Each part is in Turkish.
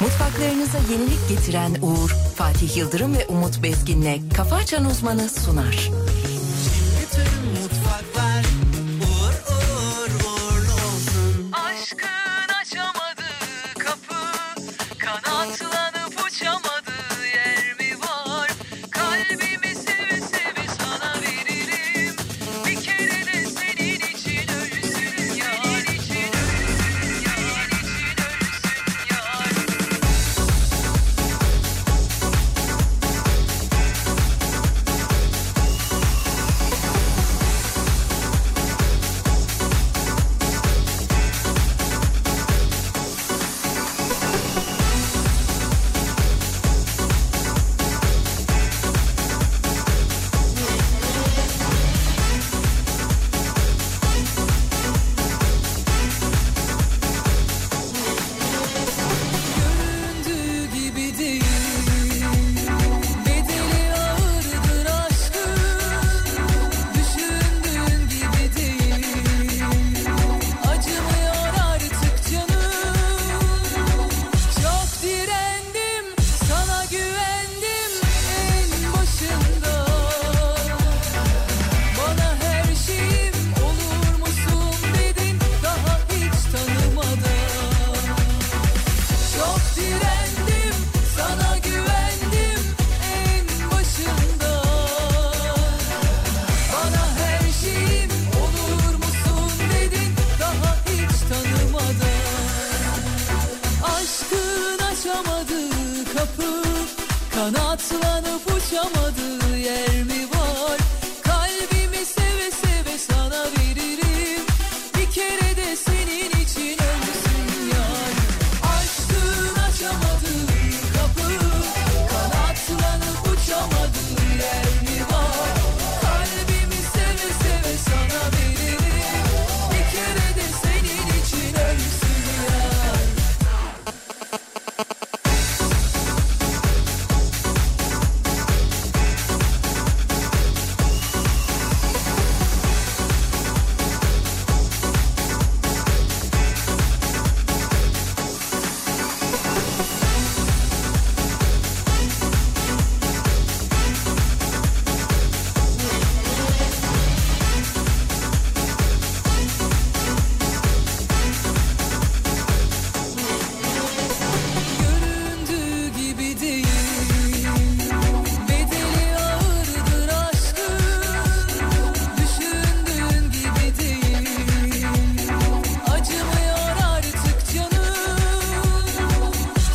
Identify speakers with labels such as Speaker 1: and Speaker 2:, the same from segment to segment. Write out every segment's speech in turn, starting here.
Speaker 1: Mutfaklarınıza yenilik getiren Uğur, Fatih Yıldırım ve Umut Bezgin'le Kafa Açan Uzmanı sunar.
Speaker 2: Bütün mutfaklar uğur uğur uğurlu olsun.
Speaker 3: Aşkın açamadı kapı Kanatlanıp uçamadı yer mi var Kalbimi seve seve sana veririm Bir kere de senin için ölsün yar için ölsün yar için ölsün yar Göründüğü gibi değil Bedeli ağırdır aşkın Düşündüğün gibi değil Acımıyor artık canım Çok direndim sana güvendim en başında Bana her şeyim olur musun dedin daha hiç tanımadan çok direndim, sana güvendim en başında. Bana her şeyim olur musun dedin, daha hiç tanımadan. Aşkın açamadığı kapı, kanatlanıp uçamadığı yer mi var? Kalbimi seve seve sana veririm, bir kere de senin için ölsün yar. Aşkın açamadığı kapı, kanatlanıp uçamadığı yer mi var? Kalbimi seve seve sana veririm, bir kere de senin için ölsün yar. Göründüğü gibi değil Bedeli ağırdır aşkın Düşündüğün gibi değil Acımıyor artık canım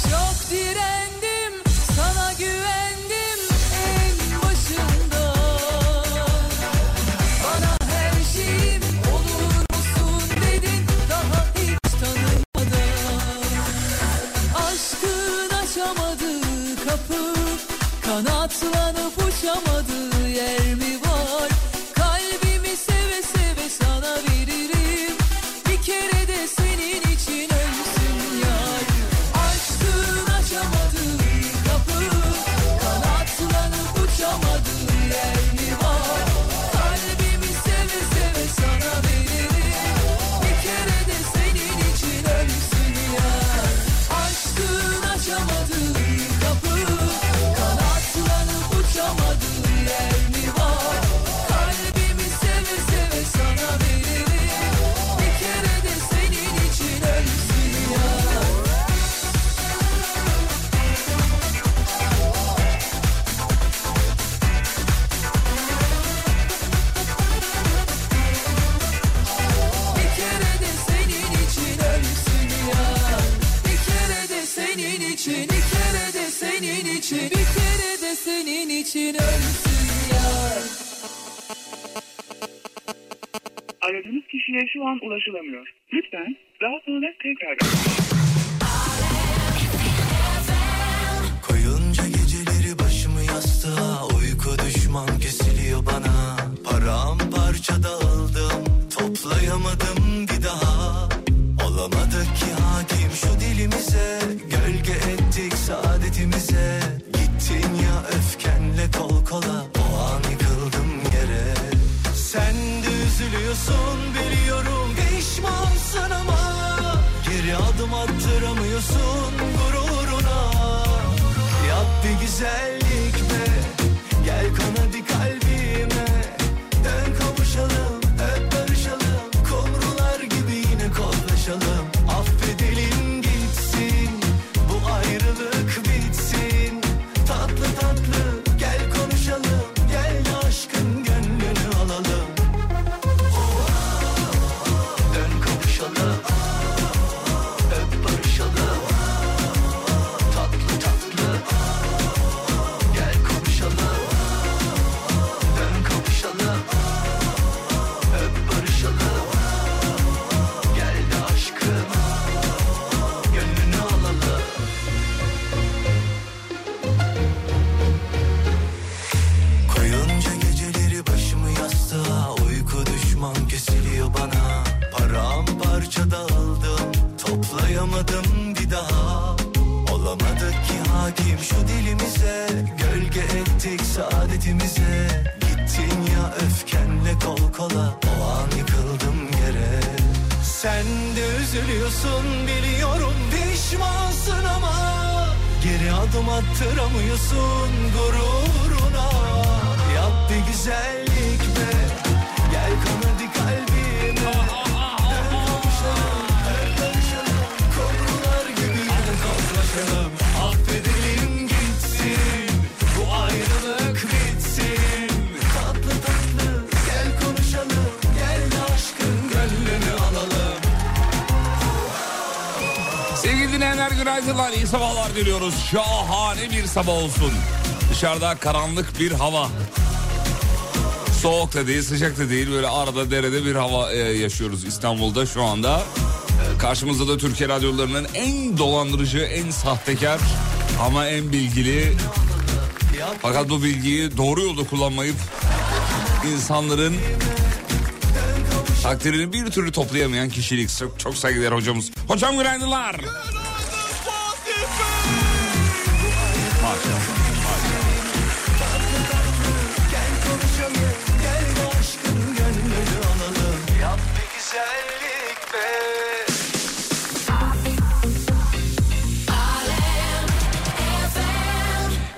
Speaker 3: Çok direndim sana güvendim en başında Bana her şeyim olur musun dedin daha hiç tanımadan Aşkın açamadığı kapı Kanatlanıp uçamadığı yer mi var Kalbimi seve seve sana veririm Bir kere de senin için ölsün yar Aşkın açamadığı kapı Kanatlanıp uçamadığı yer mi var Kalbimi seve seve sana veririm Bir kere de senin için ölsün yar Aşkın açamadığı kapı Kanatlanıp uçamadığı yer mi var Kalbimi seve seve sana veririm Bir kere de senin için ölsün ya Bir kere de senin için ölsün ya Bir kere de senin için Bir kere de senin için Bir kere de senin için ölsün ya
Speaker 4: Aradığınız kişiye şu an ulaşılamıyor. Lütfen daha sonra tekrar
Speaker 2: Koyunca geceleri başımı yastığa Uyku düşman kesiliyor bana Paramparça dağıldım Toplayamadım bir daha Olamadık ki hakim şu dilimize Gölge ettik saadetimize Gittin ya öfkenle kol kola O an yıkıldım yere Sen de üzülüyorsun biliyorum Pişmansın ama Geri adım attır hakim şu dilimize Gölge ettik saadetimize Gittin ya öfkenle kol kola O an yıkıldım yere Sen de üzülüyorsun biliyorum pişmansın ama Geri adım attıramıyorsun gururuna Yap bir güzellik be Gel kan hadi kalbime Dön kavuşalım, dön kavuşalım Kobralar gibi Hadi kavuşalım Affedelim gitsin Bu ayrılık bitsin Tatlı tatlı gel konuşalım Gel de aşkın gönlünü alalım
Speaker 5: Sevgili dinleyenler günaydınlar, iyi sabahlar diliyoruz. Şahane bir sabah olsun. Dışarıda karanlık bir hava. Soğuk da değil, sıcak da değil. Böyle arada derede bir hava e, yaşıyoruz İstanbul'da şu anda. E, karşımızda da Türkiye radyolarının en dolandırıcı, en sahtekar ama en bilgili. Fakat bu bilgiyi doğru yolda kullanmayıp insanların takdirini bir türlü toplayamayan kişilik. Çok, çok saygıdeğer hocamız. Hocam günaydınlar. Maşallah.
Speaker 2: Gel de aşkın gönlünü alalım Yap bir güzellik be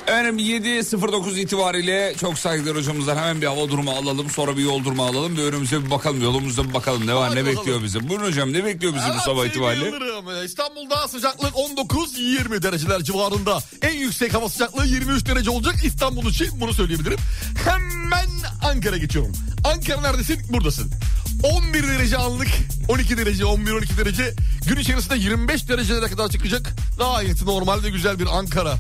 Speaker 5: Efendim 7.09 itibariyle çok saygıdeğer hocamızdan hemen bir hava durumu alalım. Sonra bir yol durumu alalım. Bir önümüze bir bakalım. Yolumuza bir bakalım. Ne var ne
Speaker 6: bakalım.
Speaker 5: bekliyor bizi? Buyurun hocam ne bekliyor bizi bu
Speaker 6: Evet,
Speaker 5: sabah
Speaker 6: sevgili
Speaker 5: itibariyle?
Speaker 6: Yıldırım, e, İstanbul'da sıcaklık 19-20 dereceler civarında. En yüksek hava sıcaklığı 23 derece olacak İstanbul için bunu söyleyebilirim. Hemen Ankara geçiyorum. Ankara neredesin? Buradasın. 11 derece anlık 12 derece 11-12 derece gün içerisinde 25 derecelere kadar çıkacak. Gayet normal ve güzel bir Ankara.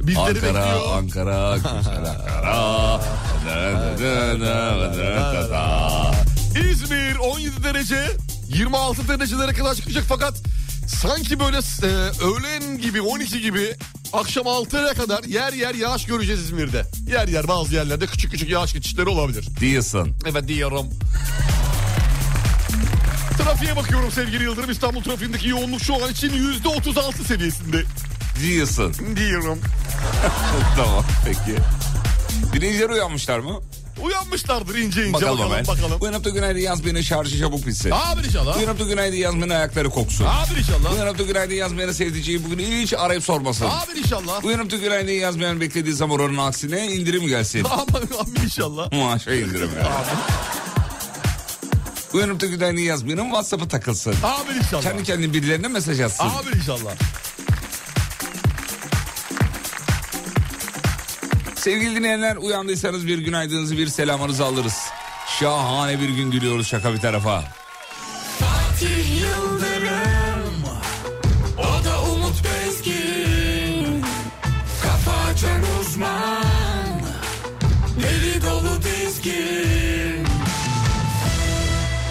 Speaker 6: Bizleri
Speaker 5: Ankara,
Speaker 6: bekliyor.
Speaker 5: Ankara, güzel Ankara. Da, da, da, da, da, da, da.
Speaker 6: İzmir 17 derece 26 derecelere kadar çıkacak fakat sanki böyle e, öğlen gibi 12 gibi akşam 6'ya kadar yer yer yağış göreceğiz İzmir'de. Yer yer bazı yerlerde küçük küçük yağış geçişleri olabilir.
Speaker 5: Diyorsun.
Speaker 6: Evet diyorum. Trafiğe bakıyorum sevgili Yıldırım. İstanbul trafiğindeki yoğunluk şu an için %36 seviyesinde.
Speaker 5: Diyorsun.
Speaker 6: Diyorum.
Speaker 5: tamam peki. Dinleyiciler uyanmışlar mı?
Speaker 6: Uyanmışlardır ince ince
Speaker 5: Bakalım,
Speaker 6: bakalım bakalım.
Speaker 5: hemen. Uyanıp da günaydın yaz beni şarjı çabuk bitsin.
Speaker 6: Abi inşallah.
Speaker 5: Uyanıp da günaydın yaz beni ayakları koksun.
Speaker 6: Abi inşallah.
Speaker 5: Uyanıp da günaydın yaz beni sevdiceği bugün hiç arayıp sormasın.
Speaker 6: Abi inşallah.
Speaker 5: Uyanıp da günaydın yazmayan beklediği zaman oranın aksine indirim gelsin.
Speaker 6: Abi inşallah.
Speaker 5: Maaşa indirim ya. Uyanıp da günaydın yazmayanın WhatsApp'ı takılsın.
Speaker 6: Abi inşallah.
Speaker 5: Kendi kendine birilerine mesaj atsın.
Speaker 6: Abi inşallah.
Speaker 5: Sevgili dinleyenler uyandıysanız bir günaydınızı bir selamınızı alırız. Şahane bir gün diliyoruz şaka bir tarafa.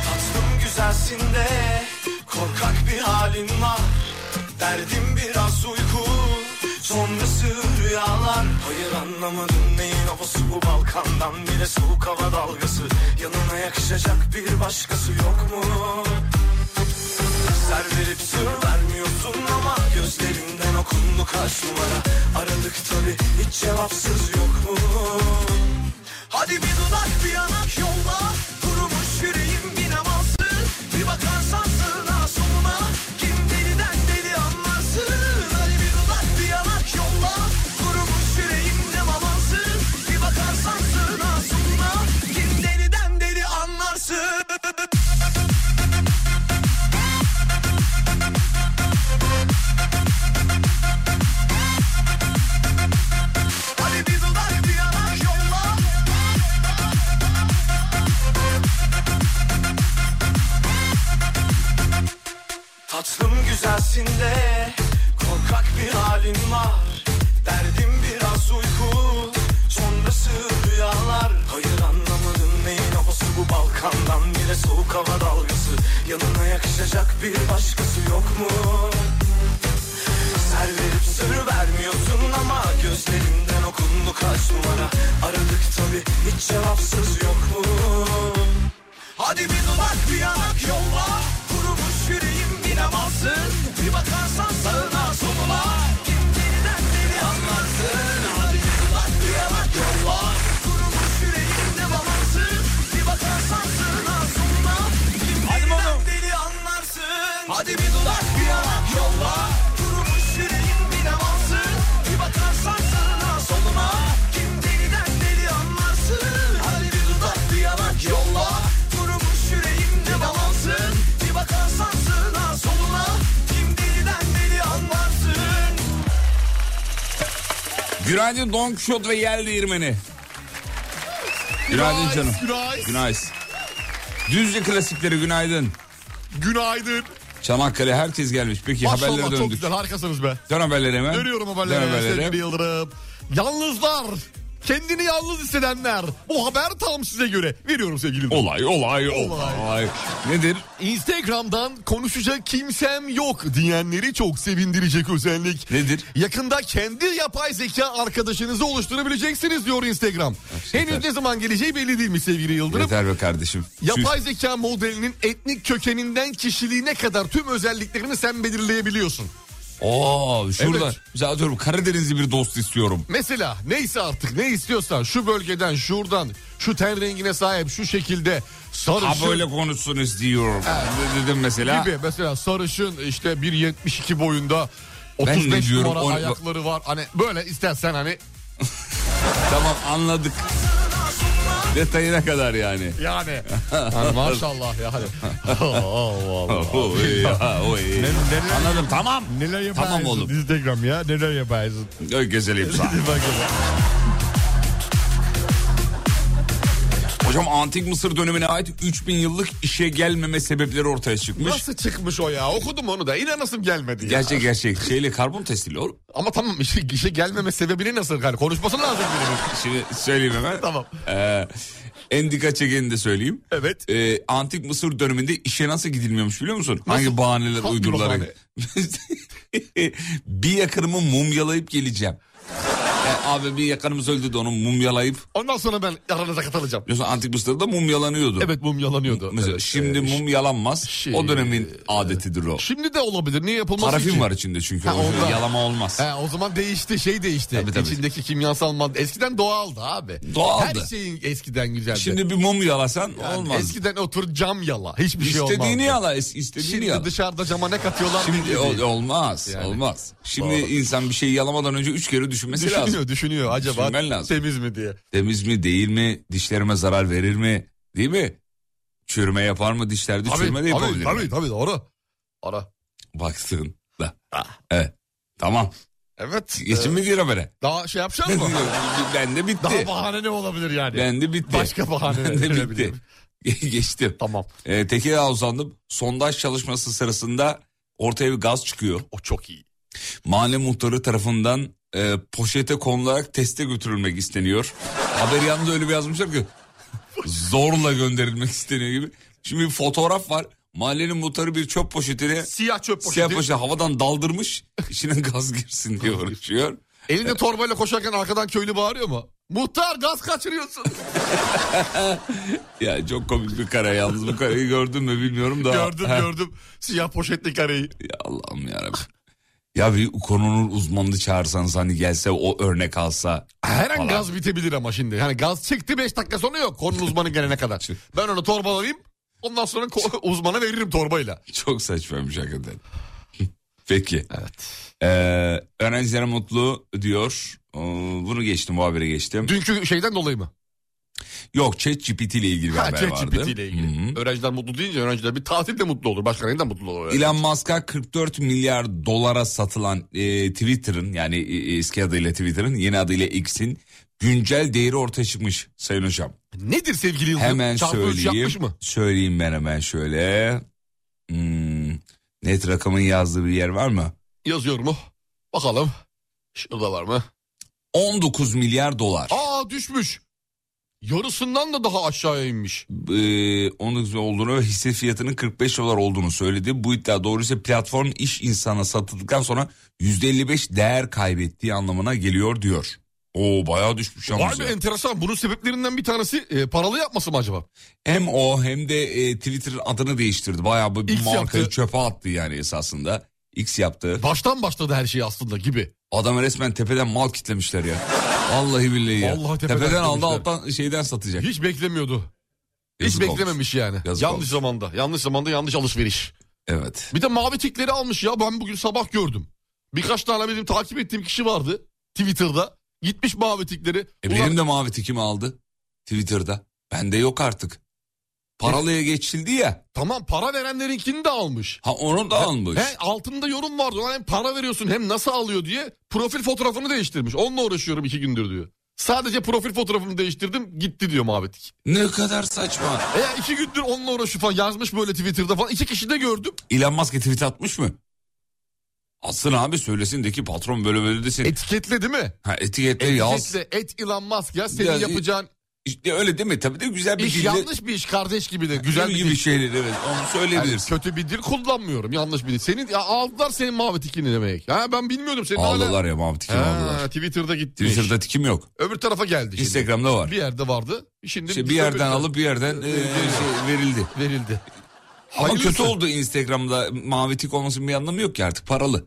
Speaker 2: Tatlım güzelsin de korkak bir halin var Derdim biraz uyku sonrası rüyalar Hayır anlamadım neyin havası bu Balkan'dan bile soğuk hava dalgası Yanına yakışacak bir başkası yok mu? Ser verip sır vermiyorsun ama Gözlerinden okundu kaç numara Aradık tabi hiç cevapsız yok mu? Hadi bir dudak bir yanak yolla Kurumuş yüreğim binamansın Bir bakarsan sığına soluna Kim deliden deli anlarsın Hadi bir dudak bir yanak yolla Kurumuş yüreğim ne mamansın Bir bakarsan sığına soluna Kim deliden deli anlarsın Hadi bir dudak bir yanak yolla Tatlım güzelsin de korkak bir halin var Derdim biraz uyku sonrası rüyalar Hayır anlamadım neyin havası bu Balkan'dan bile soğuk hava dalgası Yanına yakışacak bir başkası yok mu? Ser verip sır vermiyorsun ama Gözlerinden okundu kaç numara Aradık tabi hiç cevapsız yok mu? Hadi bir dudak bir yanak yolla Kurumuş yüreğim bilemezsin Bir bakarsan sağına soluna Kim geriden beni anlarsın
Speaker 5: Günaydın Don Kişot ve Yel Değirmeni. Günaydın canım.
Speaker 6: Günaydın.
Speaker 5: Günaydın. Düzce klasikleri günaydın.
Speaker 6: Günaydın.
Speaker 5: Çanakkale herkes gelmiş. Peki haberlere
Speaker 6: Maşallah çok
Speaker 5: döndük.
Speaker 6: güzel harikasınız be.
Speaker 5: Dön haberlere hemen.
Speaker 6: Dönüyorum
Speaker 5: Dön
Speaker 6: haberlere sevgili Yıldırım. Yalnızlar. Kendini yalnız hissedenler. Bu haber tam size göre. Veriyorum sevgili Yıldırım.
Speaker 5: Olay, olay, olay,
Speaker 6: Olay.
Speaker 5: Nedir?
Speaker 6: Instagram'dan konuşacak kimsem yok diyenleri çok sevindirecek özellik.
Speaker 5: Nedir?
Speaker 6: Yakında kendi yapay zeka arkadaşınızı oluşturabileceksiniz diyor Instagram.
Speaker 5: Yeter.
Speaker 6: Henüz ne zaman geleceği belli değil mi sevgili Yıldırım?
Speaker 5: Yeter be kardeşim.
Speaker 6: Yapay zeka modelinin etnik kökeninden kişiliğine kadar tüm özelliklerini sen belirleyebiliyorsun.
Speaker 5: Oo, şurada.
Speaker 6: Evet.
Speaker 5: Mesela atıyorum Karadenizli bir dost istiyorum.
Speaker 6: Mesela neyse artık ne istiyorsan şu bölgeden şuradan şu ten rengine sahip şu şekilde
Speaker 5: Ha
Speaker 6: sarışın
Speaker 5: böyle konuşsun istiyorum. Ne Dedim mesela.
Speaker 6: gibi mesela sarışın işte 1.72 boyunda
Speaker 5: Ben ne
Speaker 6: 35
Speaker 5: diyorum,
Speaker 6: numara
Speaker 5: on-
Speaker 6: ayakları var hani böyle istersen hani
Speaker 5: Tamam anladık. Detayına kadar yani.
Speaker 6: yani, Hani maşallah ya hani. Allah Allah.
Speaker 5: Oy ya, oy.
Speaker 6: neler-
Speaker 5: Anladım tamam.
Speaker 6: Neler yaparsın
Speaker 5: Tamam oğlum.
Speaker 6: Instagram ya neler yaparsın.
Speaker 5: Ö, Güzel imza.
Speaker 6: Hadi bakalım.
Speaker 5: Hocam antik Mısır dönemine ait 3000 yıllık işe gelmeme sebepleri ortaya çıkmış.
Speaker 6: Nasıl çıkmış o ya okudum onu da inanasım gelmedi ya.
Speaker 5: Gerçek gerçek. Şeyle karbon testiyle oğlum.
Speaker 6: Ama tamam işe, işe gelmeme sebebini nasıl yani konuşması lazım birinin.
Speaker 5: Şimdi söyleyeyim hemen.
Speaker 6: Tamam.
Speaker 5: Ee, en dikkat çekeni de söyleyeyim.
Speaker 6: Evet.
Speaker 5: Ee, antik Mısır döneminde işe nasıl gidilmiyormuş biliyor musun? Hangi bahaneler
Speaker 6: Hangi
Speaker 5: uydurularak.
Speaker 6: bahane?
Speaker 5: bir yakınımı mumyalayıp geleceğim. Ya abi bir yakınımız öldü de onu mumyalayıp.
Speaker 6: Ondan sonra ben aranıza katılacağım.
Speaker 5: Biliyorsun antik Mısır'da mumyalanıyordu.
Speaker 6: Evet mum yalanıyordu.
Speaker 5: Mesela
Speaker 6: Evet,
Speaker 5: şimdi
Speaker 6: e,
Speaker 5: mum yalanmaz.
Speaker 6: şey-
Speaker 5: o dönemin adetidir o.
Speaker 6: Şimdi de olabilir. Niye yapılması
Speaker 5: Parafin
Speaker 6: ki?
Speaker 5: var içinde çünkü.
Speaker 6: Ha,
Speaker 5: o yüzden
Speaker 6: ondan.
Speaker 5: Yalama olmaz.
Speaker 6: He, o zaman değişti şey değişti.
Speaker 5: Tabii, tabii.
Speaker 6: İçindeki kimyasal madde. Eskiden doğaldı abi.
Speaker 5: Doğaldı.
Speaker 6: Her şeyin eskiden güzeldi.
Speaker 5: Şimdi bir mum yalasan
Speaker 6: Yani
Speaker 5: olmaz.
Speaker 6: Eskiden otur cam yala. Hiçbir şey olmaz.
Speaker 5: istediğini yala. is- istediğini
Speaker 6: Şimdi
Speaker 5: yala.
Speaker 6: dışarıda cama ne katıyorlar
Speaker 5: Şimdi
Speaker 6: belli
Speaker 5: o-
Speaker 6: değil.
Speaker 5: olmaz,
Speaker 6: Yani.
Speaker 5: olmaz. Şimdi
Speaker 6: Doğru.
Speaker 5: insan bir şeyi yalamadan önce üç kere düşünmesi
Speaker 6: Düşünüyor
Speaker 5: lazım.
Speaker 6: düşünüyor acaba
Speaker 5: Düşünmen lazım.
Speaker 6: temiz mi diye.
Speaker 5: Temiz mi, değil mi? Dişlerime zarar verir mi? Değil mi? Çürüme yapar mı dişlerde? çürüme de yapabilir.
Speaker 6: tabii,
Speaker 5: mi?
Speaker 6: tabii, tabii doğru. Ara.
Speaker 5: Baktığında. Evet. Tamam.
Speaker 6: Evet.
Speaker 5: Geçin
Speaker 6: Ah. Ee,
Speaker 5: mi diyor habere?
Speaker 6: Daha şey yapacak mı?
Speaker 5: ben de bitti.
Speaker 6: Daha bahane ne olabilir yani?
Speaker 5: ben de bitti.
Speaker 6: Başka bahane
Speaker 5: ben de bitti.
Speaker 6: verebilirim.
Speaker 5: Geçtim.
Speaker 6: Tamam.
Speaker 5: Ee, Tekirdağ'a uzandım. Sondaj çalışması sırasında ortaya bir gaz çıkıyor.
Speaker 6: O çok iyi.
Speaker 5: mahalle muhtarı tarafından e, poşete konularak teste götürülmek isteniyor. Haber yanında öyle bir yazmışlar ki zorla gönderilmek isteniyor gibi. Şimdi bir fotoğraf var. Mahallenin muhtarı bir çöp poşetine
Speaker 6: Siyah çöp poşeti.
Speaker 5: siyah poşeti havadan daldırmış. İçine gaz girsin diye uğraşıyor.
Speaker 6: Elinde torbayla koşarken arkadan köylü bağırıyor mu? Muhtar gaz kaçırıyorsun.
Speaker 5: Ya çok komik bir kare yalnız. Bu kareyi gördün mü bilmiyorum da.
Speaker 6: gördüm
Speaker 5: Ha,
Speaker 6: gördüm. Siyah poşetli kareyi.
Speaker 5: Ya Allah'ım yarabbim. Ya bir konunun uzmanını çağırsanız hani gelse o örnek alsa.
Speaker 6: Her an
Speaker 5: falan.
Speaker 6: gaz bitebilir ama şimdi. Yani gaz çıktı 5 dakika sonra yok. Konunun uzmanı gelene kadar. Ben onu torbalayayım. Ondan sonra ko- uzmana veririm torbayla.
Speaker 5: Çok saçmaymış hakikaten. Peki.
Speaker 6: Evet.
Speaker 5: Ee, öğrencilere mutlu diyor. Ee, bunu geçtim bu habere geçtim.
Speaker 6: Dünkü şeyden dolayı mı?
Speaker 5: Yok ChatGPT ile ilgili bir
Speaker 6: Ha,
Speaker 5: haber vardı.
Speaker 6: ChatGPT ile ilgili.
Speaker 5: Hı hı.
Speaker 6: Öğrenciler mutlu deyince öğrenciler bir tatilde mutlu olur. Başka neyden mutlu olur? öğrenci?
Speaker 5: Elon Musk'a 44 milyar dolara satılan e, Twitter'ın yani e, eski adıyla Twitter'ın yeni adıyla X'in güncel değeri ortaya çıkmış sayın hocam.
Speaker 6: Nedir sevgili Yıldırım?
Speaker 5: Hemen
Speaker 6: Çarpı üç
Speaker 5: söyleyeyim.
Speaker 6: yapmış mı?
Speaker 5: Söyleyeyim ben hemen şöyle. Hmm, net rakamın yazdığı bir yer var mı?
Speaker 6: Yazıyor mu? Bakalım. Şurada var mı?
Speaker 5: 19 milyar dolar.
Speaker 6: Aa düşmüş. Yarısından da daha aşağıya inmiş.
Speaker 5: e, onun güzel olduğunu ve hisse fiyatının 45 dolar olduğunu söyledi. Bu iddia doğruysa platform iş insana satıldıktan sonra %55 değer kaybettiği anlamına geliyor diyor. Oo bayağı düşmüş
Speaker 6: Vay
Speaker 5: yalnız.
Speaker 6: be
Speaker 5: ya.
Speaker 6: enteresan. Bunun sebeplerinden bir tanesi e, paralı yapması mı acaba?
Speaker 5: Hem o hem de e, Twitter adını değiştirdi. Bayağı bu
Speaker 6: X
Speaker 5: markayı
Speaker 6: yaptı.
Speaker 5: çöpe attı yani esasında. X yaptı.
Speaker 6: Baştan başladı her şey aslında gibi.
Speaker 5: Adam resmen tepeden mal kitlemişler ya. Vallahi billahi ya.
Speaker 6: Vallahi
Speaker 5: tepeden,
Speaker 6: tepeden
Speaker 5: aldı
Speaker 6: kitlemişler.
Speaker 5: alttan şeyden satacak.
Speaker 6: Hiç beklemiyordu.
Speaker 5: Yazık
Speaker 6: Hiç
Speaker 5: olmuş.
Speaker 6: beklememiş yani.
Speaker 5: Yazık
Speaker 6: yanlış
Speaker 5: olmuş.
Speaker 6: zamanda. Yanlış zamanda yanlış alışveriş.
Speaker 5: Evet.
Speaker 6: Bir de mavi tikleri almış ya ben bugün sabah gördüm. Birkaç tane benim takip ettiğim kişi vardı Twitter'da. Gitmiş mavi tikleri.
Speaker 5: E
Speaker 6: Ulan
Speaker 5: benim de mavi tikimi aldı Twitter'da. Bende yok artık. Paralıya geçildi ya.
Speaker 6: Tamam para verenlerinkini de almış.
Speaker 5: Ha onu da almış.
Speaker 6: He, altında yorum vardı. Ulan hem para veriyorsun hem nasıl alıyor diye profil fotoğrafını değiştirmiş. Onunla uğraşıyorum iki gündür diyor. Sadece profil fotoğrafımı değiştirdim gitti diyor muhabbetlik.
Speaker 5: Ne kadar saçma.
Speaker 6: E ya iki gündür onunla uğraşıyor falan yazmış böyle Twitter'da falan. İki kişi de gördüm.
Speaker 5: Elon Musk'e tweet atmış mı? Atsın abi söylesin de ki patron böyle böyle desin.
Speaker 6: Etiketle değil mi?
Speaker 5: ha, etiketle E, yaz.
Speaker 6: Etiketle et Elon Musk ya senin
Speaker 5: Ya,
Speaker 6: yapacağın
Speaker 5: İşte öyle değil mi? Tabii de güzel bir
Speaker 6: iş
Speaker 5: dille-
Speaker 6: yanlış bir iş kardeş gibi de güzel bir
Speaker 5: gibi şey
Speaker 6: dil.
Speaker 5: şeyler evet onu
Speaker 6: Yani
Speaker 5: söyleyebilirsin.
Speaker 6: kötü bir dil kullanmıyorum yanlış bir dil. Senin ya, aldılar senin muhabbetikini demek. Ha ben bilmiyordum senin hala-
Speaker 5: Ağladılar ya Mahmut Ekim
Speaker 6: Ha,
Speaker 5: ağladılar.
Speaker 6: Twitter'da gitmiş.
Speaker 5: Twitter'da tikim yok.
Speaker 6: Öbür tarafa geldi. şimdi.
Speaker 5: Instagram'da var.
Speaker 6: Bir yerde vardı. Şimdi
Speaker 5: İşte bir
Speaker 6: bize
Speaker 5: yerden
Speaker 6: verildi.
Speaker 5: alıp bir yerden e, şey, verildi.
Speaker 6: verildi.
Speaker 5: Ama
Speaker 6: Hayırlısı.
Speaker 5: kötü oldu Instagram'da mavi tik olmasının bir anlamı yok ki artık paralı.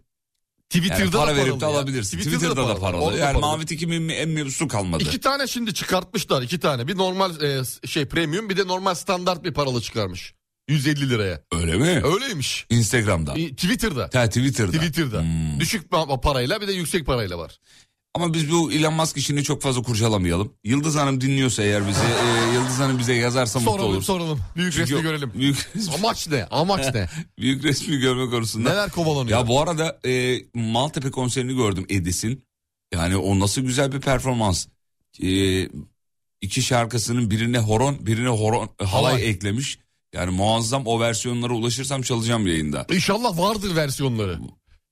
Speaker 6: Twitter'da
Speaker 5: Yani para
Speaker 6: da
Speaker 5: verip de
Speaker 6: paralı ya.
Speaker 5: alabilirsin. Twitter'da, da paralı.
Speaker 6: orada da
Speaker 5: yani
Speaker 6: paralı.
Speaker 5: mavi tikim en- en mevzusu kalmadı.
Speaker 6: İki tane şimdi çıkartmışlar iki tane. Bir normal e, şey premium bir de normal standart bir paralı çıkarmış. 150 liraya.
Speaker 5: Öyle mi?
Speaker 6: Öyleymiş.
Speaker 5: Instagram'da.
Speaker 6: İ- Twitter'da.
Speaker 5: Ha, Twitter'da.
Speaker 6: Twitter'da.
Speaker 5: Hmm.
Speaker 6: Düşük pa- parayla bir de yüksek parayla var.
Speaker 5: Ama biz bu Elon Musk işini çok fazla kurcalamayalım. Yıldız Hanım dinliyorsa eğer bizi, e, Yıldız Hanım bize yazarsa mutlu
Speaker 6: Soralım
Speaker 5: olur.
Speaker 6: soralım. Büyük
Speaker 5: Çünkü
Speaker 6: resmi görelim.
Speaker 5: Büyük, resmi-
Speaker 6: Amaç ne? Amaç ne?
Speaker 5: büyük resmi görme konusunda.
Speaker 6: Neler kovalanıyor?
Speaker 5: Ya bu arada e, Maltepe konserini gördüm Edis'in. Yani o nasıl güzel bir performans. E, iki şarkısının birine horon, birine horon e, halay,
Speaker 6: Halay.
Speaker 5: eklemiş. Yani muazzam o versiyonlara ulaşırsam çalacağım yayında.
Speaker 6: İnşallah vardır versiyonları.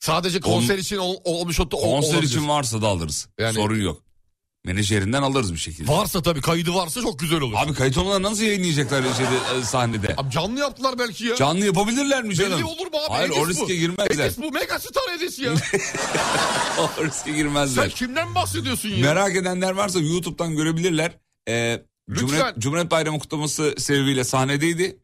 Speaker 6: Sadece konser için ol- olmuş ol-
Speaker 5: Konser
Speaker 6: olabilir.
Speaker 5: için varsa da alırız.
Speaker 6: Yani-
Speaker 5: Sorun yok. Menajerinden alırız bir şekilde.
Speaker 6: Varsa tabii kaydı varsa çok güzel olur. Abi,
Speaker 5: Abi kayıt olmadan nasıl yayınlayacaklar şeyde, e, sahnede?
Speaker 6: canlı yaptılar belki ya.
Speaker 5: Canlı yapabilirler mi canım?
Speaker 6: Belli olur mu abi?
Speaker 5: Hayır o
Speaker 6: Edis
Speaker 5: riske
Speaker 6: bu.
Speaker 5: girmezler.
Speaker 6: Edis bu megastar Edis ya.
Speaker 5: o riske
Speaker 6: Sen
Speaker 5: girmezler.
Speaker 6: kimden bahsediyorsun ya?
Speaker 5: Merak edenler varsa YouTube'dan görebilirler. Ee,
Speaker 6: Lütfen.
Speaker 5: Cumhuriyet, Cumhuriyet Bayramı kutlaması sebebiyle sahnedeydi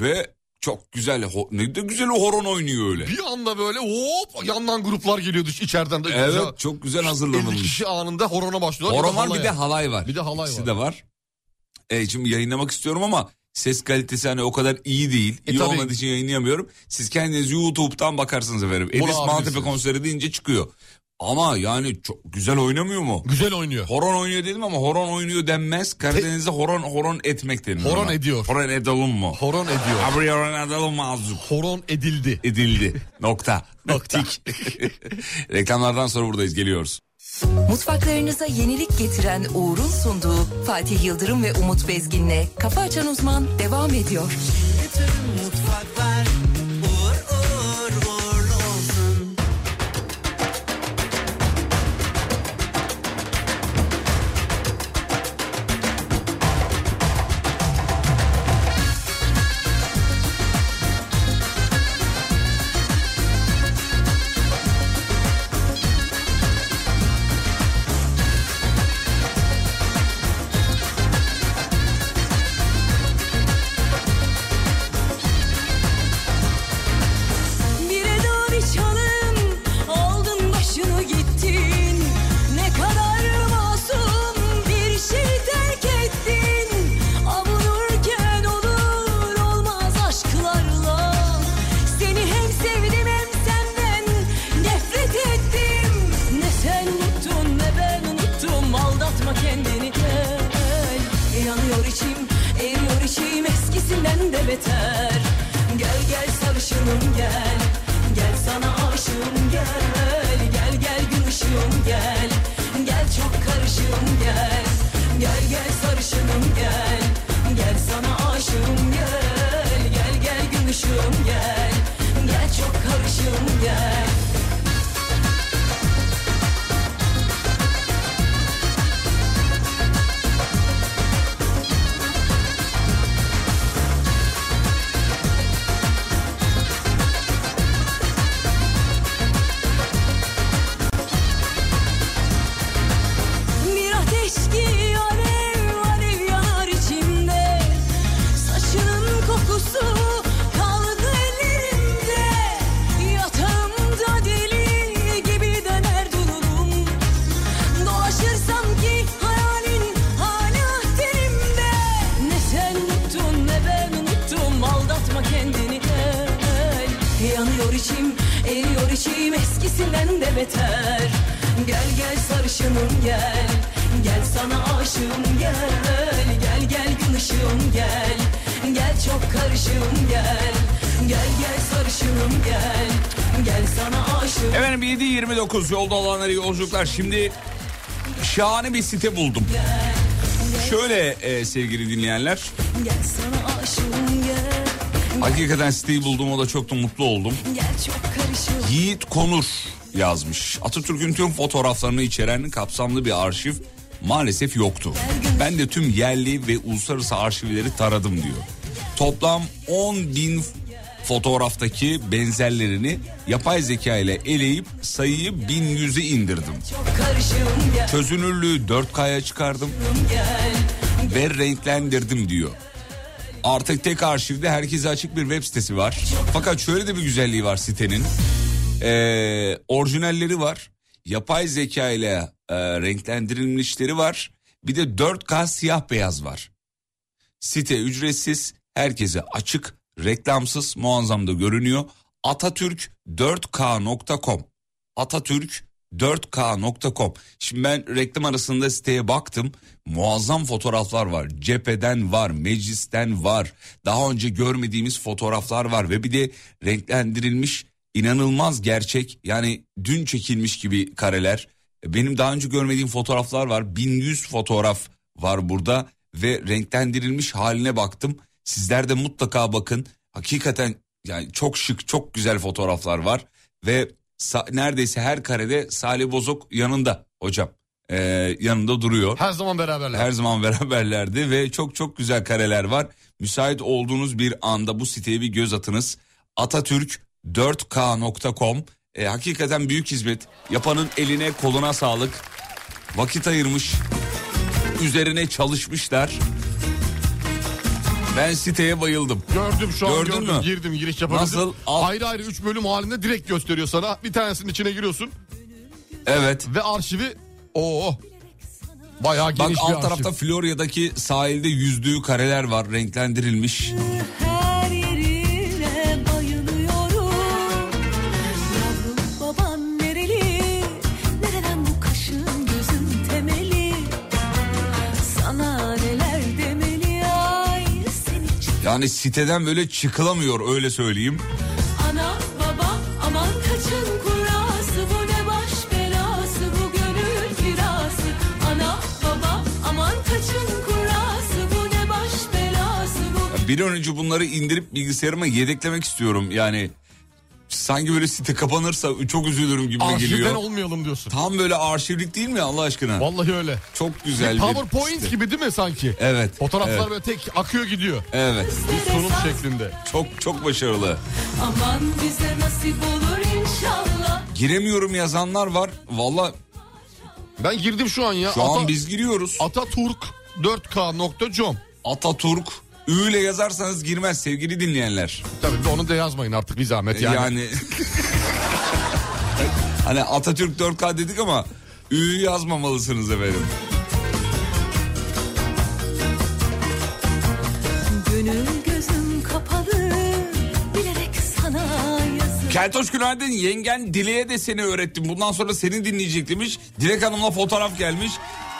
Speaker 5: ve çok güzel ho- ne de güzel o horon oynuyor öyle.
Speaker 6: Bir anda böyle hop yandan gruplar geliyordu içeriden de.
Speaker 5: Evet
Speaker 6: Güzel.
Speaker 5: çok güzel
Speaker 6: 50
Speaker 5: hazırlanılmış.
Speaker 6: kişi anında horona başlıyorlar.
Speaker 5: Horon var bir
Speaker 6: halaya.
Speaker 5: de halay var.
Speaker 6: Bir de halay
Speaker 5: İkisi
Speaker 6: var.
Speaker 5: de var. Ee, şimdi yayınlamak istiyorum ama ses kalitesi hani o kadar iyi değil.
Speaker 6: E,
Speaker 5: iyi
Speaker 6: tabii.
Speaker 5: olmadığı için yayınlayamıyorum. Siz kendiniz YouTube'dan bakarsınız efendim.
Speaker 6: Bunu
Speaker 5: Edis Maltepe
Speaker 6: alabilirsiniz.
Speaker 5: konseri deyince çıkıyor. Ama yani çok güzel oynamıyor mu?
Speaker 6: Güzel oynuyor.
Speaker 5: Horon oynuyor dedim ama horon oynuyor denmez. Karadeniz'de horon horon etmek denir.
Speaker 6: Horon
Speaker 5: ona.
Speaker 6: ediyor.
Speaker 5: Horon edelim mi?
Speaker 6: Horon ediyor.
Speaker 5: Abi horon edelim mi azıcık?
Speaker 6: Horon edildi.
Speaker 5: Edildi. Nokta. Noktik. Reklamlardan sonra buradayız geliyoruz.
Speaker 1: Mutfaklarınıza yenilik getiren Uğur'un sunduğu Fatih Yıldırım ve Umut Bezgin'le Kafa Açan Uzman devam ediyor.
Speaker 7: Bire doğru çalım, aldın başını gittin. Ne kadar masum bir şey terk ettin. Avunurken olur olmaz aşklarla. Seni hem sevdim hem senden nefret ettim. Ne sen unuttun ne ben unuttum, aldatma kendini gel. Yanıyor içim, eriyor içim, eskisinden de beter. Gel gel sarışınım gel Gel sana aşığım gel Gel gel gün ışığım gel Gel çok karışığım gel Gel gel sarışınım gel Gel sana aşığım gel Gel gel gün ışığım gel Gel çok karışığım gel Bir ateş ki alev alev yanar içimde Saçının kokusu kaldı ellerimde Yatağımda deli gibi döner dururum Dolaşırsam ki hayalin hala derimde Ne sen unuttun ne ben unuttum aldatma kendini gel Yanıyor içim eriyor içim eskisinden de beter Gel gel sarışınım gel Gel sana aşığım gel Gel gel gün ışığım gel
Speaker 3: Gel çok karışım gel Gel gel sarışınım gel Gel sana aşığım
Speaker 5: Efendim 7.29 yolda olanları yolculuklar. Şimdi şahane bir site buldum. Şöyle e, sevgili dinleyenler.
Speaker 3: Gel sana aşığım gel
Speaker 5: Hakikaten siteyi buldum o da çok da mutlu oldum.
Speaker 3: Gel çok karışım
Speaker 5: Yiğit Konur yazmış. Atatürk'ün tüm fotoğraflarını içeren kapsamlı bir arşiv maalesef yoktu. Ben de tüm yerli ve uluslararası arşivleri taradım diyor. Toplam 10 bin fotoğraftaki benzerlerini yapay zeka ile eleyip sayıyı 1100'e indirdim.
Speaker 3: karışım gel
Speaker 5: Çözünürlüğü 4K'ya çıkardım ve renklendirdim diyor. Artık tek arşivde herkese açık bir web sitesi var. Fakat şöyle de bir güzelliği var sitenin. Ee, orijinalleri var. Yapay zeka ile e, renklendirilmişleri var. Bir de 4K siyah beyaz var. Site ücretsiz, herkese açık, reklamsız, muazzam da görünüyor. Atatürk4k.com Atatürk4k.com Şimdi ben reklam arasında siteye baktım. Muazzam fotoğraflar var. Cepheden var, meclisten var. Daha önce görmediğimiz fotoğraflar var ve bir de renklendirilmiş inanılmaz gerçek yani dün çekilmiş gibi kareler. E, Benim daha önce görmediğim fotoğraflar var. 1100 fotoğraf var burada ve renklendirilmiş haline baktım. Sizler de mutlaka bakın. Hakikaten yani çok şık, çok güzel fotoğraflar var ve sa- neredeyse her karede Salih Bozok yanında hocam. Ee, yanında duruyor.
Speaker 6: Her zaman beraberler.
Speaker 5: Her zaman beraberlerdi ve çok çok güzel kareler var. Müsait olduğunuz bir anda bu siteye bir göz atınız. Atatürk4k.com E, Hakikaten büyük hizmet. Yapanın eline koluna sağlık. Vakit ayırmış. Üzerine çalışmışlar. Ben siteye bayıldım.
Speaker 6: Gördüm şu an
Speaker 5: Gördün
Speaker 6: gördüm.
Speaker 5: mü?
Speaker 6: Girdim giriş yaparız.
Speaker 5: Nasıl? Al.
Speaker 6: Ayrı ayrı 3 bölüm halinde direkt gösteriyor sana. Bir tanesinin içine giriyorsun
Speaker 5: Evet.
Speaker 6: ve arşivi Oo. Bayağı
Speaker 5: Bak
Speaker 6: geniş bir
Speaker 5: alt
Speaker 6: arşiv.
Speaker 5: tarafta Florya'daki sahilde yüzdüğü kareler var renklendirilmiş.
Speaker 3: Her yerine bayılıyorum Yavrum baban nereli Nereden bu kaşın gözün temeli Sana neler demeli Ay seni çık
Speaker 5: Yani siteden böyle çıkılamıyor öyle söyleyeyim.
Speaker 3: Anam babam aman kaçın kurası bu ne baş belası bu gönül kirası Anam babam aman kaçın kurası bu ne baş belası bu
Speaker 5: Ya Bir an önce bunları indirip bilgisayarıma yedeklemek istiyorum. Yani sanki böyle site kapanırsa çok üzülürüm gibi
Speaker 6: Arşivden
Speaker 5: geliyor.
Speaker 6: olmayalım diyorsun.
Speaker 5: Tam böyle arşivlik değil mi Allah aşkına?
Speaker 6: Vallahi öyle.
Speaker 5: çok güzel bir
Speaker 6: PowerPoint
Speaker 5: site.
Speaker 6: gibi değil mi sanki?
Speaker 5: Evet.
Speaker 6: Fotoğraflar
Speaker 5: evet,
Speaker 6: böyle tek akıyor gidiyor.
Speaker 5: evet.
Speaker 6: Bir sunum şeklinde.
Speaker 5: Çok çok başarılı.
Speaker 3: Aman bize nasip olur inşallah.
Speaker 5: Giremiyorum yazanlar var. Valla
Speaker 6: Ben girdim şu an ya.
Speaker 5: şu
Speaker 6: Ata-
Speaker 5: an biz giriyoruz.
Speaker 6: Ataturk 4k.com.
Speaker 5: Ataturk Ü ile yazarsanız girmez sevgili dinleyenler.
Speaker 6: Tabii de onu da yazmayın artık bir zahmet yani.
Speaker 5: Yani, hani Atatürk 4K dedik ama Ü'yü yazmamalısınız efendim.
Speaker 3: Gönül gözüm kapalı bilerek sana yazık.
Speaker 5: Keltoş günaydın yengen Dile'ye de seni öğrettim. Bundan sonra seni dinleyecek demiş. Dilek Hanım'la fotoğraf gelmiş.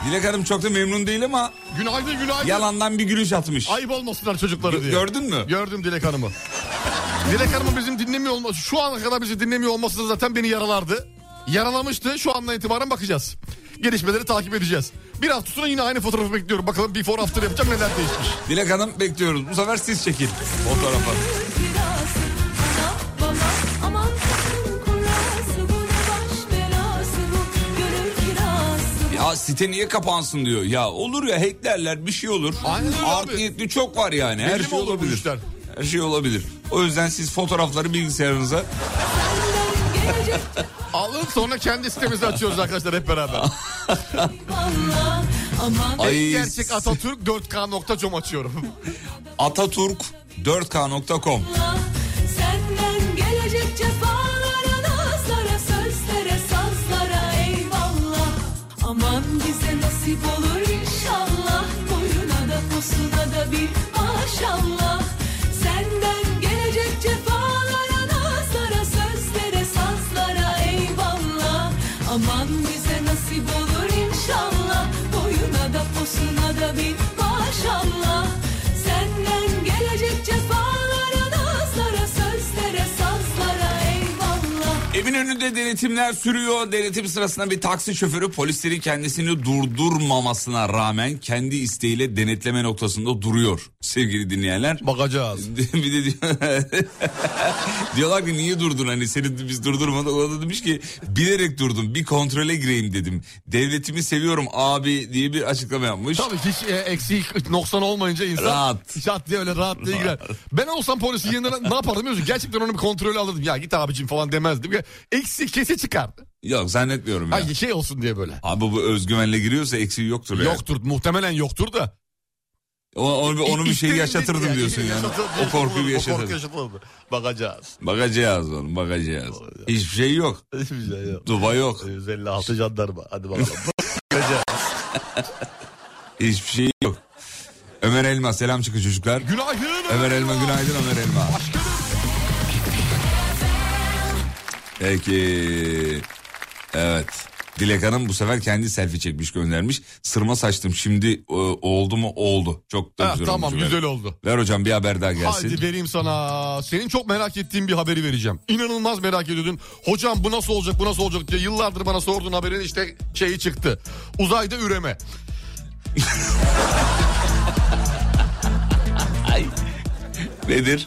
Speaker 5: Dilek Hanım çok da memnun değil ama
Speaker 6: Günaydın günaydın.
Speaker 5: yalandan bir gülüş atmış.
Speaker 6: Ayıp olmasınlar çocukları diye.
Speaker 5: Gördün mü?
Speaker 6: Gördüm Dilek Hanım'ı. Dilek Hanım'ın bizim dinlemiyor olması, şu ana kadar bizi dinlemiyor olması da zaten beni yaralardı. Yaralamıştı. Şu andan itibaren bakacağız. Gelişmeleri takip edeceğiz. Bir hafta sonra yine aynı fotoğrafı bekliyorum. Bakalım before after yapacağım neler değişmiş.
Speaker 5: Dilek Hanım bekliyoruz. Bu sefer siz çekin fotoğrafı.
Speaker 3: Biraz ana baba aman kızım kurası bu ne baş belası bu gönül kirası.
Speaker 5: Ya site niye kapansın diyor. Ya olur ya hacklerler bir şey olur.
Speaker 6: Aynen öyle
Speaker 5: Artı
Speaker 6: abi.
Speaker 5: yetli çok var yani. Her
Speaker 6: Belli mi
Speaker 5: şey
Speaker 6: olur bu
Speaker 5: olabilir.
Speaker 6: işler?
Speaker 5: Her şey olabilir. O yüzden siz fotoğrafları bilgisayarınıza
Speaker 3: Senden gelecek
Speaker 6: Alın sonra kendi sitemizi açıyoruz arkadaşlar hep beraber.
Speaker 3: valla aman
Speaker 5: Ay,
Speaker 6: Gerçek Atatürk 4k.com açıyorum.
Speaker 5: Ataturk 4k.com
Speaker 3: valla senden gelecek cefalara nazlara sözlere sazlara eyvallah. Aman bize nasip olur inşallah boyuna da posuna da bir maşallah. Senden gelecek cefalara nazlara sözlere sazlara eyvallah. Aman bize nasip olur inşallah boyuna da posuna da bir maşallah. Senden gelecek
Speaker 5: Eminönü'nde denetimler sürüyor. Denetim sırasında bir taksi şoförü polislerin kendisini durdurmamasına rağmen kendi isteğiyle denetleme noktasında duruyor. Sevgili dinleyenler.
Speaker 6: Bakacağız.
Speaker 5: bir de diyor, diyorlar ki niye durdun hani seni biz durdurmadık. O da demiş ki bilerek durdum bir kontrole gireyim dedim. Devletimi seviyorum abi diye bir açıklama yapmış.
Speaker 6: Tabii hiç e, eksik noksan olmayınca insan
Speaker 5: Rahat.
Speaker 6: şat diye öyle rahat diye girer. Ben olsam polisin yanına ne yapardım biliyor musun? Gerçekten onu bir kontrolü alırdım. Ya git abicim falan demezdim. Ya, Eksik kesi çıkar.
Speaker 5: Yok zannetmiyorum ya.
Speaker 6: Hayır şey olsun diye böyle.
Speaker 5: Abi bu özgüvenle giriyorsa eksiği yoktur. yani.
Speaker 6: Yoktur muhtemelen yoktur da.
Speaker 5: O- Onu, onu bir şey
Speaker 6: İsteği-
Speaker 5: yaşatırdım
Speaker 6: Ya,
Speaker 5: diyorsun yani.
Speaker 6: yaşatırdım,
Speaker 5: O korkuyu
Speaker 6: yaşatırdım, O korku
Speaker 5: yaşatırdım.
Speaker 6: yaşatırdım. Bakacağız.
Speaker 5: Bakacağız oğlum bakacağız. Hiçbir şey yok.
Speaker 6: Hiçbir şey yok.
Speaker 5: Duba yok.
Speaker 6: 156 jandarma. Hadi bakalım. Bakacağız.
Speaker 5: Hiçbir şey yok. Ömer Elma selam çıkın çocuklar.
Speaker 6: Günaydın.
Speaker 5: Ömer Elma günaydın Ömer Elma. Peki. Evet. Dilek Hanım bu sefer kendi selfie çekmiş göndermiş. Sırma saçtım şimdi e, oldu mu oldu. Çok da
Speaker 6: Ha,
Speaker 5: güzel
Speaker 6: tamam
Speaker 5: olmuş.
Speaker 6: güzel oldu.
Speaker 5: Ver hocam bir haber daha gelsin.
Speaker 6: Hadi vereyim sana. Senin çok merak ettiğin bir haberi vereceğim. İnanılmaz merak ediyordun. Hocam bu nasıl olacak bu nasıl olacak diye yıllardır bana sordun haberin işte şeyi çıktı. Uzayda üreme.
Speaker 5: Nedir?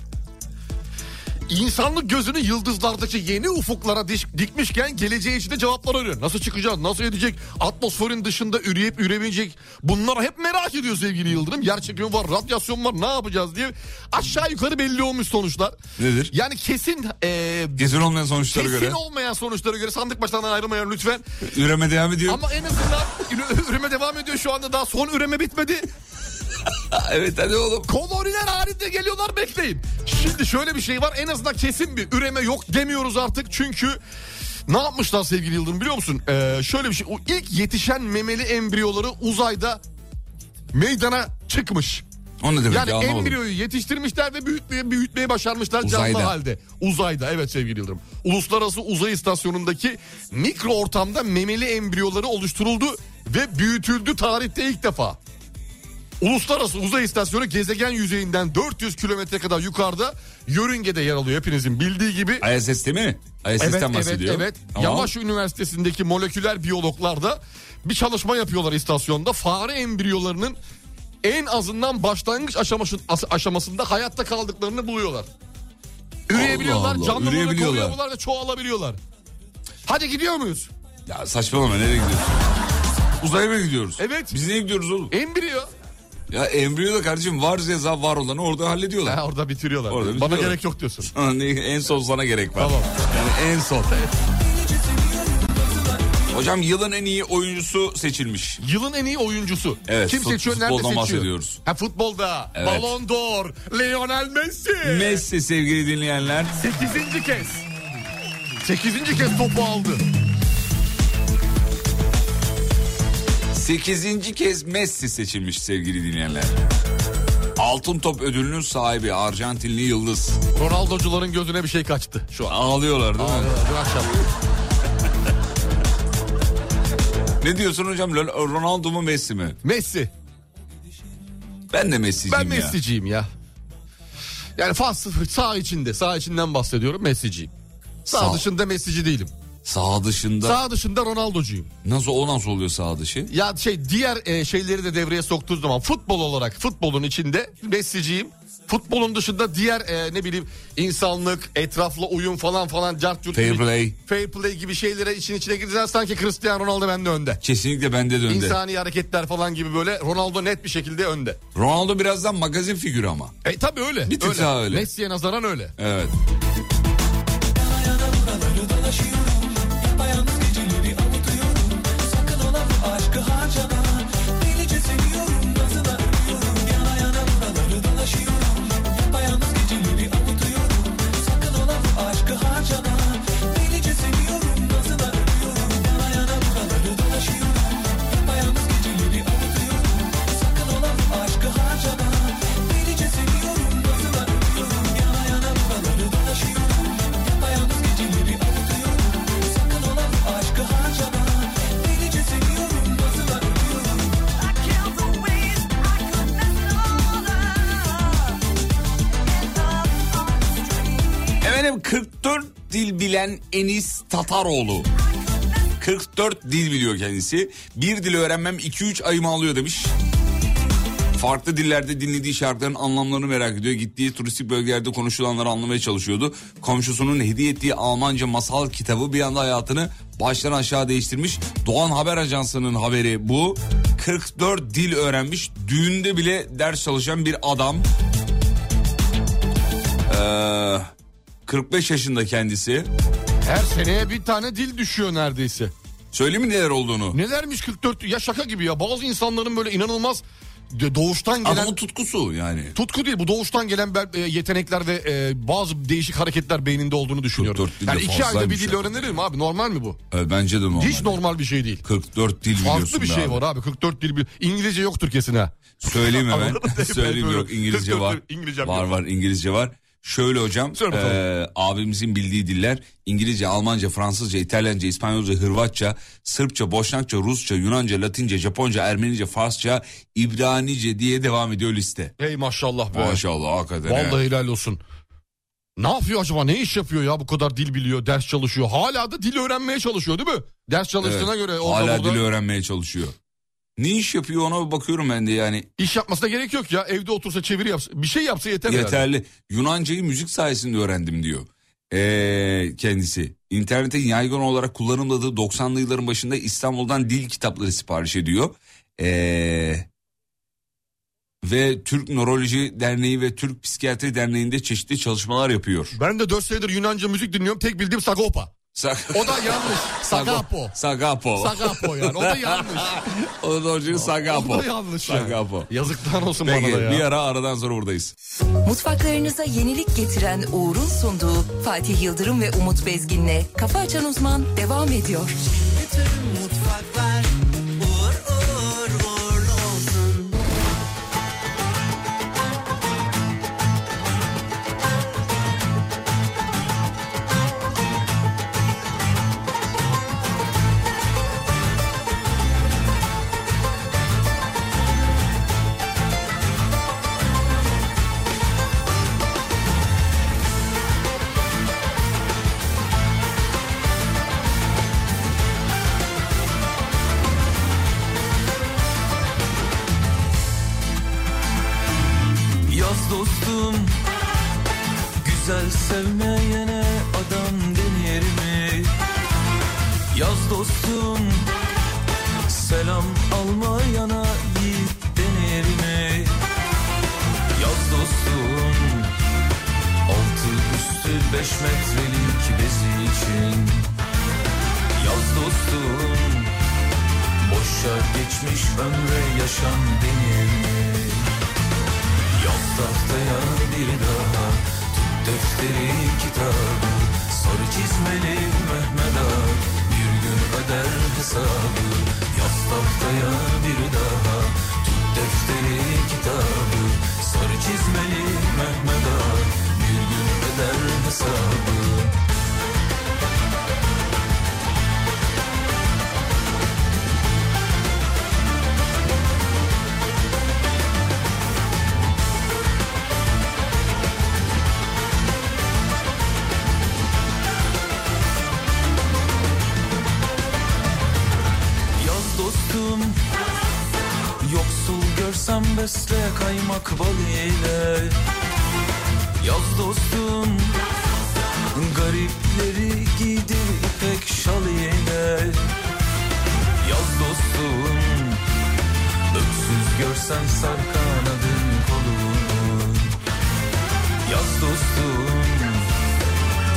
Speaker 6: İnsanlık gözünü yıldızlardaki yeni ufuklara diş- dikmişken geleceğe içinde cevaplar arıyor. Nasıl çıkacağız, nasıl edecek, atmosferin dışında üreyip üremeyecek. Bunlar hep merak ediyor sevgili Yıldırım. Yer çekimi var, radyasyon var, ne yapacağız diye. Aşağı yukarı belli olmuş sonuçlar.
Speaker 5: Nedir?
Speaker 6: Yani kesin e,
Speaker 5: Kesin olmayan sonuçlara
Speaker 6: kesin
Speaker 5: göre.
Speaker 6: olmayan sonuçlara göre sandık başlarından ayrılmayın lütfen.
Speaker 5: Üreme devam ediyor.
Speaker 6: Ama en azından üre- üreme devam ediyor şu anda daha son üreme bitmedi.
Speaker 5: Evet hadi oğlum.
Speaker 6: Koloniler halinde geliyorlar bekleyin. Şimdi şöyle bir şey var en azından kesin bir üreme yok demiyoruz artık çünkü ne yapmışlar sevgili Yıldırım biliyor musun? Ee, şöyle bir şey o ilk yetişen memeli embriyoları uzayda meydana çıkmış.
Speaker 5: O ne demek
Speaker 6: Yani
Speaker 5: ya anlamadım.
Speaker 6: embriyoyu yetiştirmişler ve büyütmeye, büyütmeye başarmışlar canlı
Speaker 5: Uzayda.
Speaker 6: halde. Uzayda evet sevgili Yıldırım. Uluslararası Uzay İstasyonu'ndaki mikro ortamda memeli embriyoları oluşturuldu ve büyütüldü tarihte ilk defa. Uluslararası Uzay İstasyonu gezegen yüzeyinden 400 kilometre kadar yukarıda yörüngede yer alıyor hepinizin bildiği gibi.
Speaker 5: ISS'te mi? ISS'ten
Speaker 6: Evet, evet,
Speaker 5: bahsediyor.
Speaker 6: evet.
Speaker 5: Tamam.
Speaker 6: Yavaş Üniversitesi'ndeki moleküler biyologlar da bir çalışma yapıyorlar istasyonda. Fare embriyolarının en azından başlangıç aşaması- as- aşamasında hayatta kaldıklarını buluyorlar. Üreyebiliyorlar,
Speaker 5: Allah,
Speaker 6: canlı olarak
Speaker 5: üreyebiliyorlar.
Speaker 6: oluyorlar ve çoğalabiliyorlar. Hadi gidiyor muyuz?
Speaker 5: Ya saçmalama nereye gidiyorsun? Uzaya mı gidiyoruz?
Speaker 6: Evet.
Speaker 5: Biz niye gidiyoruz oğlum?
Speaker 6: Embriyo.
Speaker 5: Ya embriyo da kardeşim var ceza var olanı orada hallediyorlar.
Speaker 6: Ha, orada bitiriyorlar.
Speaker 5: Orada
Speaker 6: Bana
Speaker 5: bitiriyorlar.
Speaker 6: gerek yok diyorsun.
Speaker 5: Sana ne- en son sana gerek var.
Speaker 6: Tamam.
Speaker 5: Yani en son. Hocam yılın en iyi oyuncusu seçilmiş.
Speaker 6: Yılın en iyi oyuncusu.
Speaker 5: Evet,
Speaker 6: Kim
Speaker 5: fut-
Speaker 6: seçiyor, nerede
Speaker 5: futboldan
Speaker 6: seçiyor?
Speaker 5: bahsediyoruz.
Speaker 6: Ha futbolda.
Speaker 5: Evet.
Speaker 6: Ballon d'Or, Lionel Messi.
Speaker 5: Messi sevgili dinleyenler.
Speaker 6: Sekizinci kez. Sekizinci kez topu aldı.
Speaker 5: 8. kez Messi seçilmiş sevgili dinleyenler. Altın Top ödülünün sahibi Arjantinli Yıldız.
Speaker 6: Ronaldocuların gözüne bir şey kaçtı şu an.
Speaker 5: Ağlıyorlar değil mi?
Speaker 6: Dün akşam.
Speaker 5: Ne diyorsun hocam? Ronaldo mu Messi mi?
Speaker 6: Messi.
Speaker 5: Ben de Messi'ciyim
Speaker 6: Ben
Speaker 5: ya.
Speaker 6: Messi'ciyim ya. Yani fas sağ içinde. Sağ içinden bahsediyorum Messi'ciyim. Sağ,
Speaker 5: Sağ-
Speaker 6: dışında Messi'ci değilim.
Speaker 5: Sağ dışında.
Speaker 6: Sağ dışında Ronaldocuyum.
Speaker 5: Nasıl o nasıl oluyor sağ dışı?
Speaker 6: Ya şey diğer e, şeyleri de devreye soktuğu zaman futbol olarak futbolun içinde Messi'ciyim. Futbolun dışında diğer e, ne bileyim insanlık, etrafla uyum falan falan cart curt
Speaker 5: Fair
Speaker 6: gibi-
Speaker 5: play.
Speaker 6: fair play gibi şeylere için içine girdiler sanki Cristiano Ronaldo bende önde.
Speaker 5: Kesinlikle bende de önde.
Speaker 6: İnsani hareketler falan gibi böyle Ronaldo net bir şekilde önde.
Speaker 5: Ronaldo birazdan magazin figürü ama.
Speaker 6: E tabii öyle.
Speaker 5: Bir tık daha öyle.
Speaker 6: Messi'ye nazaran öyle.
Speaker 5: Evet. bilen Enis Tataroğlu. 44 dil biliyor kendisi. Bir dil öğrenmem 2-3 ayımı alıyor demiş. Farklı dillerde dinlediği şarkıların anlamlarını merak ediyor. Gittiği turistik bölgelerde konuşulanları anlamaya çalışıyordu. Komşusunun hediye ettiği Almanca masal kitabı bir anda hayatını baştan aşağı değiştirmiş. Doğan Haber Ajansı'nın haberi bu. 44 dil öğrenmiş. Düğünde bile ders çalışan bir adam. Ee, 45 yaşında kendisi.
Speaker 6: Her seneye bir tane dil düşüyor neredeyse.
Speaker 5: Söyleyeyim mi neler olduğunu?
Speaker 6: Nelermiş 44 ya şaka gibi ya bazı insanların böyle inanılmaz de- doğuştan gelen
Speaker 5: Adamın tutkusu yani.
Speaker 6: tutku değil bu doğuştan gelen bel- e, yetenekler ve e, bazı değişik hareketler beyninde olduğunu düşünüyorum.
Speaker 5: 44 dil de
Speaker 6: Yani iki ayda bir
Speaker 5: fazlaymış
Speaker 6: dil
Speaker 5: ya.
Speaker 6: öğrenilir mi abi normal mi bu?
Speaker 5: Ee, bence de normal.
Speaker 6: Hiç normal bir şey değil.
Speaker 5: 44 dil biliyorsun
Speaker 6: Farklı bir
Speaker 5: be
Speaker 6: şey
Speaker 5: abi.
Speaker 6: var abi 44 dil bir İngilizce yoktur kesin ha.
Speaker 5: Söyleyeyim hemen.
Speaker 6: Anladın mı?
Speaker 5: Söyleyeyim yok İngilizce
Speaker 6: Dur, dur,
Speaker 5: var.
Speaker 6: dur, İngilizcem
Speaker 5: var
Speaker 6: yok.
Speaker 5: var İngilizce var. Şöyle hocam
Speaker 6: Söyle bakalım.
Speaker 5: eee, abimizin bildiği diller İngilizce, Almanca, Fransızca, İtalyanca, İspanyolca, Hırvatça, Sırpça, Boşnakça, Rusça, Yunanca, Latince, Japonca, Ermenice, Farsça, İbranice diye devam ediyor liste.
Speaker 6: Hey maşallah be.
Speaker 5: Maşallah hakikaten. ya.
Speaker 6: Vallahi helal olsun. Ne yapıyor acaba? Ne iş yapıyor ya? Bu kadar dil biliyor, ders çalışıyor. Hala da dil öğrenmeye çalışıyor değil mi? Ders çalıştığına
Speaker 5: Evet,
Speaker 6: göre orada
Speaker 5: Hala
Speaker 6: burada
Speaker 5: dil öğrenmeye çalışıyor. Ne iş yapıyor ona bir bakıyorum ben de yani.
Speaker 6: iş yapmasına gerek yok ya. Evde otursa çeviri yapsa, bir şey yapsa yeter. herhalde.
Speaker 5: Yeterli. Yunancayı müzik sayesinde öğrendim diyor. Ee, kendisi. İnternetin yaygın olarak kullanımladığı 90'lı yılların başında İstanbul'dan dil kitapları sipariş ediyor. Ee, ve Türk Nöroloji Derneği ve Türk Psikiyatri Derneği'nde çeşitli çalışmalar yapıyor.
Speaker 6: Ben de 4 senedir Yunanca müzik dinliyorum. Tek bildiğim Sagopa.
Speaker 5: Sa-
Speaker 6: O da yanlış. Sagapo.
Speaker 5: Sagapo.
Speaker 6: Sagapo yani. O da yanlış.
Speaker 5: O da orijinali Sagapo.
Speaker 6: O da yanlış yani.
Speaker 5: Sagapo.
Speaker 6: Yazıklar olsun
Speaker 5: Peki
Speaker 6: bana da ya.
Speaker 5: bir ara aradan sonra buradayız.
Speaker 1: Mutfaklarınıza yenilik getiren Uğur'un sunduğu Fatih Yıldırım ve Umut Bezgin'le Kafa Açan Uzman devam ediyor.
Speaker 4: Yaz dostum Güzel sevmeyene adam denir mi? Yaz dostum Selam almayana yiğit denir mi? Yaz dostum Altı üstü beş metrelik bezi için Yaz dostum Boşa geçmiş ömre yaşam denir mi? Yaz tahtaya bir daha Tut defteri kitabı Sarı çizmeli Mehmet Ağa Bir gün öder hesabı Yaz tahtaya bir daha Tut defteri kitabı Sarı çizmeli Mehmet Ağa Bir gün öder hesabı Yaz dostum Yoksul görsem besle kaymak balıyla Yaz dostum Garipleri giydir ipek şal ile Yaz dostum Öksüz görsen sar kanadın kolunu Yaz dostum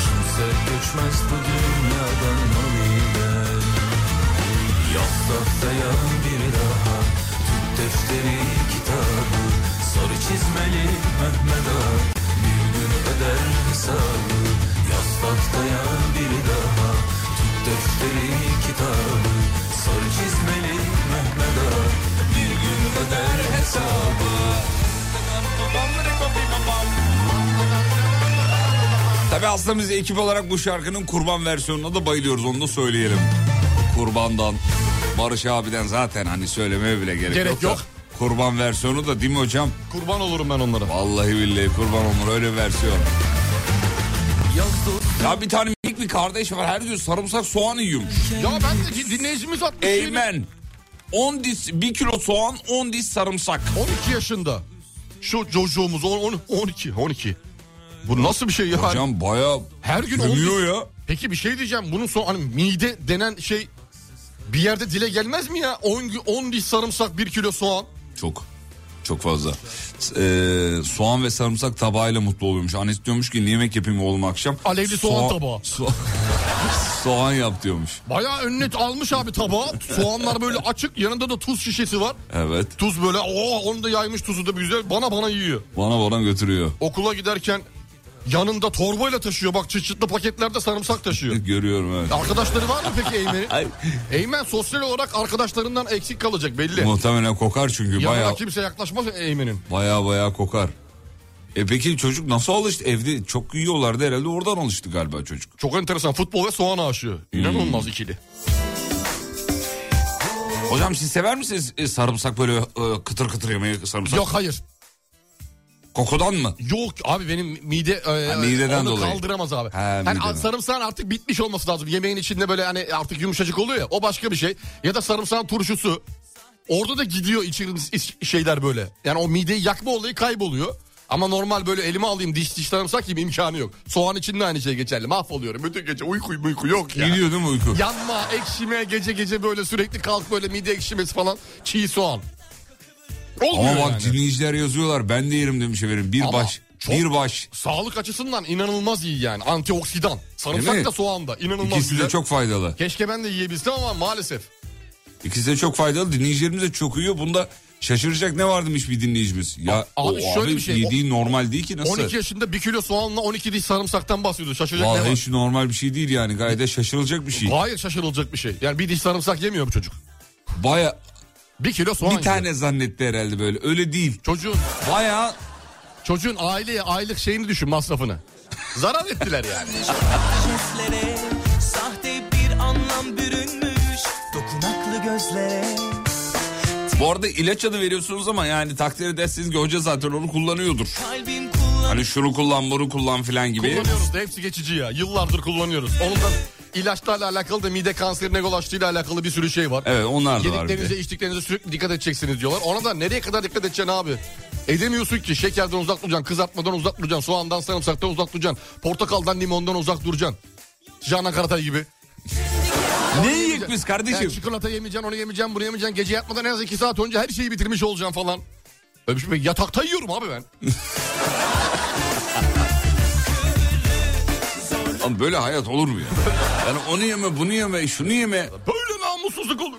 Speaker 4: Kimse göçmez bu dünyadan mal ile Yaz tahtaya bir daha Tut defteri kitabı Sarı çizmeli Mehmet Ağa Bir gün öder hesabı Yaz tahtaya bir daha Tut defteri kitabı Sarı çizmeli Mehmet Ağa Bir gün öder hesabı
Speaker 5: Tabii aslında biz ekip olarak bu şarkının kurban versiyonuna da bayılıyoruz onu da söyleyelim. Kurbandan, Barış abiden zaten hani söylemeye bile gerek,
Speaker 6: Gerek
Speaker 5: da
Speaker 6: yok.
Speaker 5: Kurban versiyonu da değil mi hocam?
Speaker 6: Kurban olurum ben onlara.
Speaker 5: Vallahi billahi kurban olur öyle bir versiyon. Ya bir tane minik bir kardeş var her gün sarımsak soğan yiyormuş.
Speaker 6: Ya ben de ki dinleyicimiz atmış. yine.
Speaker 5: Eymen. 10 diş 1 kilo soğan 10 diş sarımsak.
Speaker 6: 12 yaşında. Şu çocuğumuz on- on- 12. 12. Bu nasıl bir şey ya?
Speaker 5: Hocam baya
Speaker 6: Her gün
Speaker 5: sürünüyor
Speaker 6: on-
Speaker 5: ya.
Speaker 6: Peki bir şey diyeceğim. Bunun son hani mide denen şey bir yerde dile gelmez mi ya? 10 gü- 10 diş sarımsak 1 kilo soğan.
Speaker 5: Çok. Çok fazla. Ee, soğan ve sarımsak tabağıyla mutlu oluyormuş. Annesi diyormuş ki yemek yapayım oğlum akşam.
Speaker 6: Alevli soğan tabağı.
Speaker 5: so- soğan yap diyormuş.
Speaker 6: Bayağı önüne almış abi tabağı. Soğanlar böyle açık. Yanında da tuz şişesi var.
Speaker 5: Evet.
Speaker 6: Tuz böyle o onu da yaymış tuzu da bir güzel bana bana yiyor.
Speaker 5: Bana bana götürüyor.
Speaker 6: Okula giderken yanında torbayla taşıyor. Bak çıt çıtlı paketlerde sarımsak taşıyor.
Speaker 5: Görüyorum evet.
Speaker 6: Arkadaşları var mı peki
Speaker 5: Ay,
Speaker 6: Eymen'in? Eymen sosyal olarak arkadaşlarından eksik kalacak belli.
Speaker 5: muhtemelen kokar çünkü
Speaker 6: Yanına
Speaker 5: baya
Speaker 6: kimse yaklaşmaz Eymen'in.
Speaker 5: baya baya kokar. E peki çocuk nasıl alıştı? Evde çok yiyorlardı herhalde oradan alıştı galiba çocuk.
Speaker 6: Çok enteresan futbol ve soğan aşığı. İnanılmaz ikili.
Speaker 5: Hocam siz sever misiniz e, sarımsak böyle e, kıtır kıtır yemeği sarımsak?
Speaker 6: Yok hayır.
Speaker 5: Kokudan mı?
Speaker 6: Yok abi benim mide e,
Speaker 5: Ha, mideden
Speaker 6: onu
Speaker 5: dolayı.
Speaker 6: kaldıramaz abi.
Speaker 5: Ha,
Speaker 6: yani
Speaker 5: mideden.
Speaker 6: sarımsağın artık bitmiş olması lazım. Yemeğin içinde böyle hani artık yumuşacık oluyor ya o başka bir şey. Ya da sarımsağın turşusu. Orada da gidiyor içeriğimiz iç- şeyler böyle. Yani o mideyi yakma olayı kayboluyor. Ama normal böyle elime alayım diş diş sarımsak gibi imkanı yok. Soğan için de aynı şey geçerli. Mahvoluyorum. Bütün gece uyku uyku yok ya.
Speaker 5: Gidiyor değil mi uyku?
Speaker 6: Yanma, ekşime, gece gece böyle sürekli kalk böyle mide ekşimesi falan. Çiğ soğan. Olmuyor
Speaker 5: Ama bak
Speaker 6: yani.
Speaker 5: dinleyiciler yazıyorlar ben de yerim demiş efendim. Bir
Speaker 6: Ama
Speaker 5: baş,
Speaker 6: çok-
Speaker 5: bir baş.
Speaker 6: Sağlık açısından inanılmaz iyi yani. Antioksidan.
Speaker 5: Değil
Speaker 6: Sarımsak
Speaker 5: mi?
Speaker 6: da soğan da inanılmaz
Speaker 5: İkisi
Speaker 6: güzel.
Speaker 5: de çok faydalı.
Speaker 6: Keşke ben de yiyebilsem ama maalesef.
Speaker 5: İkisi de çok faydalı. Dinleyicilerimiz de çok uyuyor. Bunda şaşıracak ne var demiş bir dinleyicimiz. Ya
Speaker 6: Abi
Speaker 5: o
Speaker 6: şöyle
Speaker 5: abi
Speaker 6: bir şey,
Speaker 5: yediği normal değil ki nasıl?
Speaker 6: 12 yaşında 1 kilo soğanla 12 diş sarımsaktan bahsediyor. Şaşıracak ne
Speaker 5: Vallahi
Speaker 6: var?
Speaker 5: hiç normal bir şey değil yani. Gayet de şaşırılacak bir şey.
Speaker 6: Hayır şaşırılacak bir şey. Yani bir diş sarımsak yemiyor bu çocuk.
Speaker 5: Baya
Speaker 6: 1 kilo soğan
Speaker 5: bir
Speaker 6: yiyor.
Speaker 5: tane zannetti herhalde böyle. Öyle değil.
Speaker 6: Çocuğun,
Speaker 5: Baya
Speaker 6: çocuğun aileye aylık şeyini düşün masrafını. Zarar ettiler yani.
Speaker 8: Jestlere sahte bir anlam bürünmüş Dokunaklı gözlere
Speaker 5: bu arada ilaç adı veriyorsunuz ama yani takdir edersiniz ki hoca zaten onu kullanıyordur.
Speaker 8: kalbim kullanır
Speaker 5: Hani şunu kullan bunu kullan filan gibi.
Speaker 6: Kullanıyoruz da hepsi geçici ya. Yıllardır kullanıyoruz. Onun da ilaçlarla alakalı da mide kanserine yol açtığıyla alakalı bir sürü şey var.
Speaker 5: Evet onlar da var bir
Speaker 6: Yediklerinize
Speaker 5: de.
Speaker 6: içtiklerinize sürekli dikkat edeceksiniz diyorlar. Ona da nereye kadar dikkat edeceksin abi? Edemiyorsun ki şekerden uzak duracaksın, kızartmadan uzak duracaksın, soğandan sarımsaktan uzak duracaksın, portakaldan limondan uzak duracaksın. Canan Karatay gibi.
Speaker 5: Ne yiyecek biz
Speaker 6: Yani
Speaker 5: kardeşim?
Speaker 6: çikolata yemeyeceksin, onu yemeyeceksin, bunu yemeyeceksin. Gece yatmadan en az iki saat önce her şeyi bitirmiş olacaksın falan. Öyle bir şey- Yatakta yiyorum abi ben.
Speaker 5: Lan böyle hayat olur mu ya? Yani onu yeme bunu yeme şunu yeme.
Speaker 6: Böyle namussuzluk olur.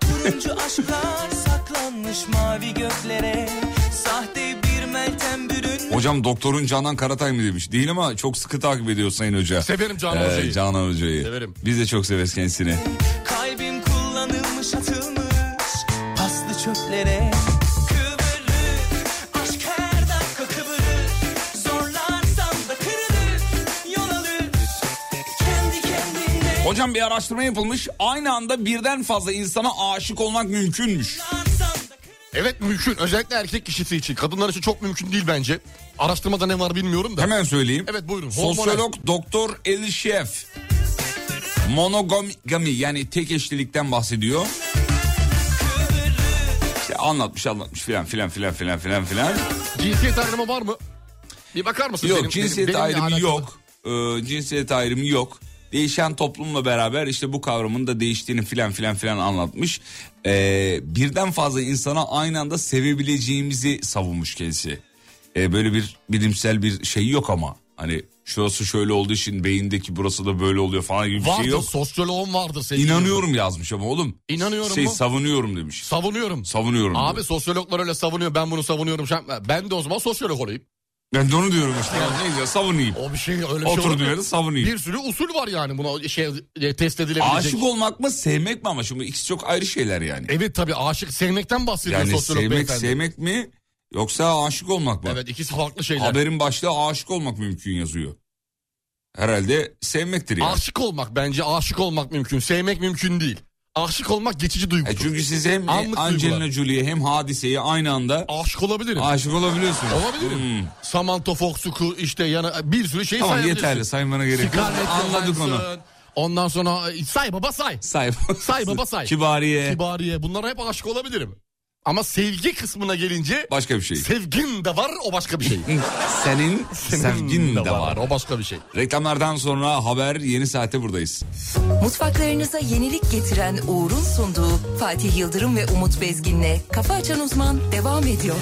Speaker 8: Turuncu aşklar saklanmış mavi göklere Sahte bir meltem bürünmüş
Speaker 5: Hocam doktorun Canan Karatay mı demiş? Değil ama çok sıkı takip ediyor Sayın Hoca. Ee,
Speaker 6: Severim Canan Hoca'yı.
Speaker 5: Canan Hoca'yı.
Speaker 6: Severim.
Speaker 5: Biz de çok severiz kendisini.
Speaker 8: Kalbim kullanılmış atılmış Paslı çöplere Kıvırır aşk her dakika kıvırır Zorlarsam da kırılır Yol alır Kendi kendine
Speaker 5: Hocam bir araştırma yapılmış. Aynı anda birden fazla insana aşık olmak mümkünmüş.
Speaker 8: Zorlarsam da
Speaker 6: Evet mümkün. Özellikle erkek kişisi için. Kadınlar için çok mümkün değil bence. Araştırmada ne var bilmiyorum da.
Speaker 5: Hemen söyleyeyim.
Speaker 6: Evet, buyurun.
Speaker 5: Sosyolog Doktor El Şef. Monogami yani tek eşlilikten bahsediyor. İşte anlatmış anlatmış filan filan filan filan filan filan.
Speaker 6: Cinsiyet ayrımı var mı? Bir bakar mısın?
Speaker 5: Yok
Speaker 6: Benim-
Speaker 5: cinsiyet
Speaker 6: benim- benimle
Speaker 5: ayrımı
Speaker 6: alakalı.
Speaker 5: yok. Ee, cinsiyet ayrımı yok. Değişen toplumla beraber işte bu kavramın da değiştiğini filan filan filan anlatmış. Ee, birden fazla insana aynı anda sevebileceğimizi savunmuş kendisi. Ee, böyle bir bilimsel bir şey yok ama. Hani şurası şöyle olduğu için beyindeki burası da böyle oluyor falan gibi bir
Speaker 6: Vardır
Speaker 5: şey yok.
Speaker 6: sosyoloğum vardır sevgili.
Speaker 5: İnanıyorum yazmış ama oğlum.
Speaker 6: İnanıyorum
Speaker 5: Şey
Speaker 6: mu?
Speaker 5: savunuyorum demiş.
Speaker 6: Savunuyorum.
Speaker 5: Savunuyorum.
Speaker 6: Abi
Speaker 5: diyor.
Speaker 6: sosyologlar öyle savunuyor ben bunu savunuyorum. Sen- Ben de o zaman sosyolog olayım.
Speaker 5: Ben de onu diyorum işte. Ya neyse savunayım.
Speaker 6: O bir şey öyle bir şey
Speaker 5: Oturduğum
Speaker 6: olabilir.
Speaker 5: yerde savunayım.
Speaker 6: Bir sürü usul var yani buna şey e, test edilebilecek.
Speaker 5: Aşık olmak mı sevmek mi ama şimdi ikisi çok ayrı şeyler yani.
Speaker 6: Evet tabii aşık sevmekten bahsediyor
Speaker 5: Yani
Speaker 6: sosyolog
Speaker 5: sevmek
Speaker 6: beyefendi.
Speaker 5: sevmek mi yoksa aşık olmak mı?
Speaker 6: Evet ikisi farklı şeyler.
Speaker 5: Haberin başlığı aşık olmak mümkün yazıyor. Herhalde sevmektir yani.
Speaker 6: Aşık olmak bence aşık olmak mümkün. Sevmek mümkün değil. Aşık olmak geçici duygu.
Speaker 5: E çünkü siz hem
Speaker 6: Anlık
Speaker 5: Angelina
Speaker 6: duygular.
Speaker 5: Jolie'ye hem hadiseyi aynı anda
Speaker 6: Aşık olabilirim.
Speaker 5: aşık olabiliyorsunuz.
Speaker 6: Olabilirim.
Speaker 5: Hmm.
Speaker 6: Samantha Fox'u işte yana bir sürü şey
Speaker 5: Tamam
Speaker 6: sayabilirsin.
Speaker 5: yeterli saymana gerek yok.
Speaker 6: Scarlett
Speaker 5: Anladık onu.
Speaker 6: Johansson. Ondan sonra e, say baba say.
Speaker 5: Say.
Speaker 6: Say baba say.
Speaker 5: Kibariye.
Speaker 6: Kibariye. Bunlara hep aşık olabilirim. Ama sevgi kısmına gelince
Speaker 5: Başka bir şey.
Speaker 6: sevgin de var o başka bir şey. Hmm,
Speaker 5: Senin sevgin de var.
Speaker 6: O başka bir şey.
Speaker 5: Reklamlardan sonra haber yeni saate buradayız.
Speaker 1: Mutfaklarınıza yenilik getiren Uğur'un sunduğu Fatih Yıldırım ve Umut Bezgin'le Kafa Açan Uzman devam ediyor.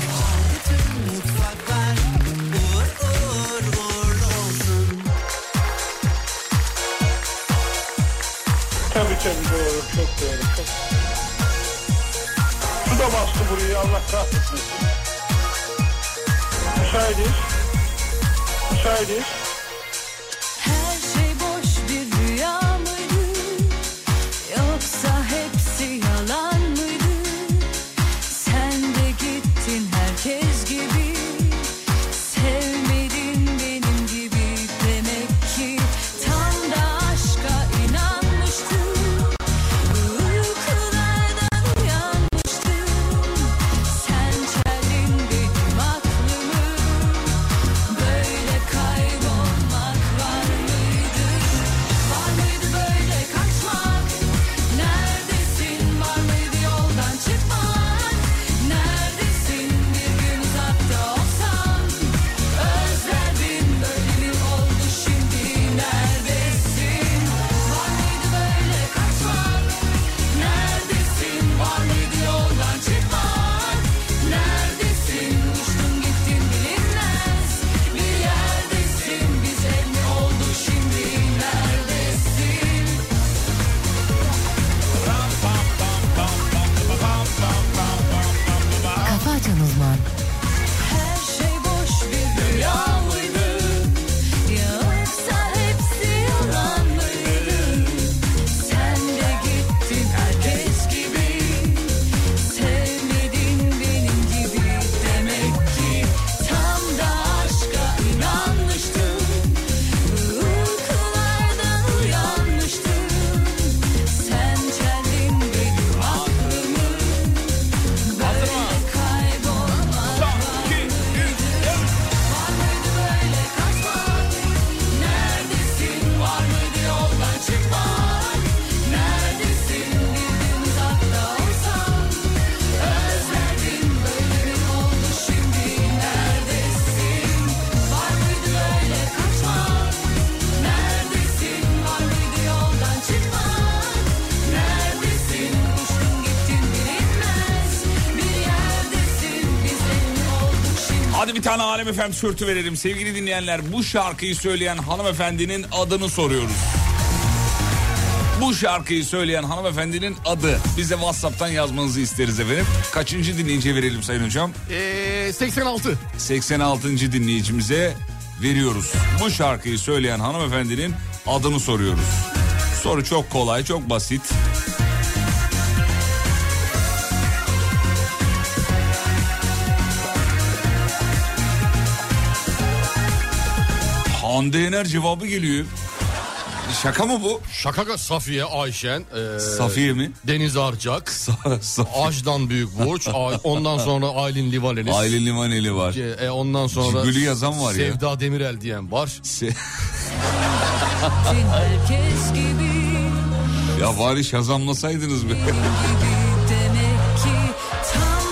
Speaker 9: Tabii tabii doğru çok doğru çok. Su da bastı burayı Allah kahretmesin. Müsaitiz. Müsaitiz.
Speaker 4: Her şey boş bir rüya mıydı? Yoksa hepsi yalan mıydı? Sen de gittin herkes gibi. Sevmedin benim gibi demek ki tam da aşka inanmıştım. Uykulardan uyanmıştım. Sen çeldin benim aklımı. Böyle kaybolmak var mıydı? Var mıydı böyle kaçmak? Neredesin? Var mıydı yoldan çıkmak? Neredesin? Bir gün uzakta olsam özlerdim. Böyle mi oldu şimdi? Neredesin? Var mıydı böyle kaçmak? Neredesin? Var mıydı yoldan çıkmak? Neredesin? Uçtun gittin bilinmez bir yerdesin. Bize ne oldu şimdi? Neredesin? Kafa açan uzman. Her şey boş bir rüya mıydı? Yoksa hepsi yalan mıydı? Sen de gittin herkes gibi. Sevmedin benim gibi demek ki tam da aşka inanmıştım. Uykulardan uyanmıştım. Sen çeldin benim aklımı. Böyle kaybolmak var mıydı? Var mıydı böyle kaçmak? Neredesin? Var mıydı yoldan çıkmak? Neredesin? Bir gün uzakta olsam özlerdim. Böyle mi oldu şimdi? Neredesin? Var mıydı böyle kaçmak? Neredesin? Var mıydı yoldan çıkmak? Neredesin? Uçtun gittin bilinmez bir yerdesin. Biz elini olduk şimdi.
Speaker 5: Hadi bir tane Alem Efem tişörtü verelim. Sevgili dinleyenler bu şarkıyı söyleyen hanımefendinin adını soruyoruz. Bu şarkıyı söyleyen hanımefendinin adı. Bize Whatsapp'tan yazmanızı isteriz efendim. Kaçıncı dinleyiciye verelim Sayın Hocam?
Speaker 6: Ee, 86.
Speaker 5: 86. dinleyicimize veriyoruz. Bu şarkıyı söyleyen hanımefendinin adını soruyoruz. Soru çok kolay, çok basit. Hande Yener cevabı geliyor. Şaka mı bu?
Speaker 6: Şakaka Safiye Ayşen. ee,
Speaker 5: Safiye mi?
Speaker 6: Deniz Arcak.
Speaker 5: Sa- Sa-
Speaker 6: Ajdan Büyük Burç. Ay- ondan sonra Aylin Livaleniz.
Speaker 5: Aile Livaneli var.
Speaker 6: E, e, ondan sonra
Speaker 5: Gülü yazan var ya.
Speaker 6: Sevda Demirel diyen var.
Speaker 5: Se-
Speaker 4: Dün herkes gibi
Speaker 5: ya bari şazamlasaydınız be.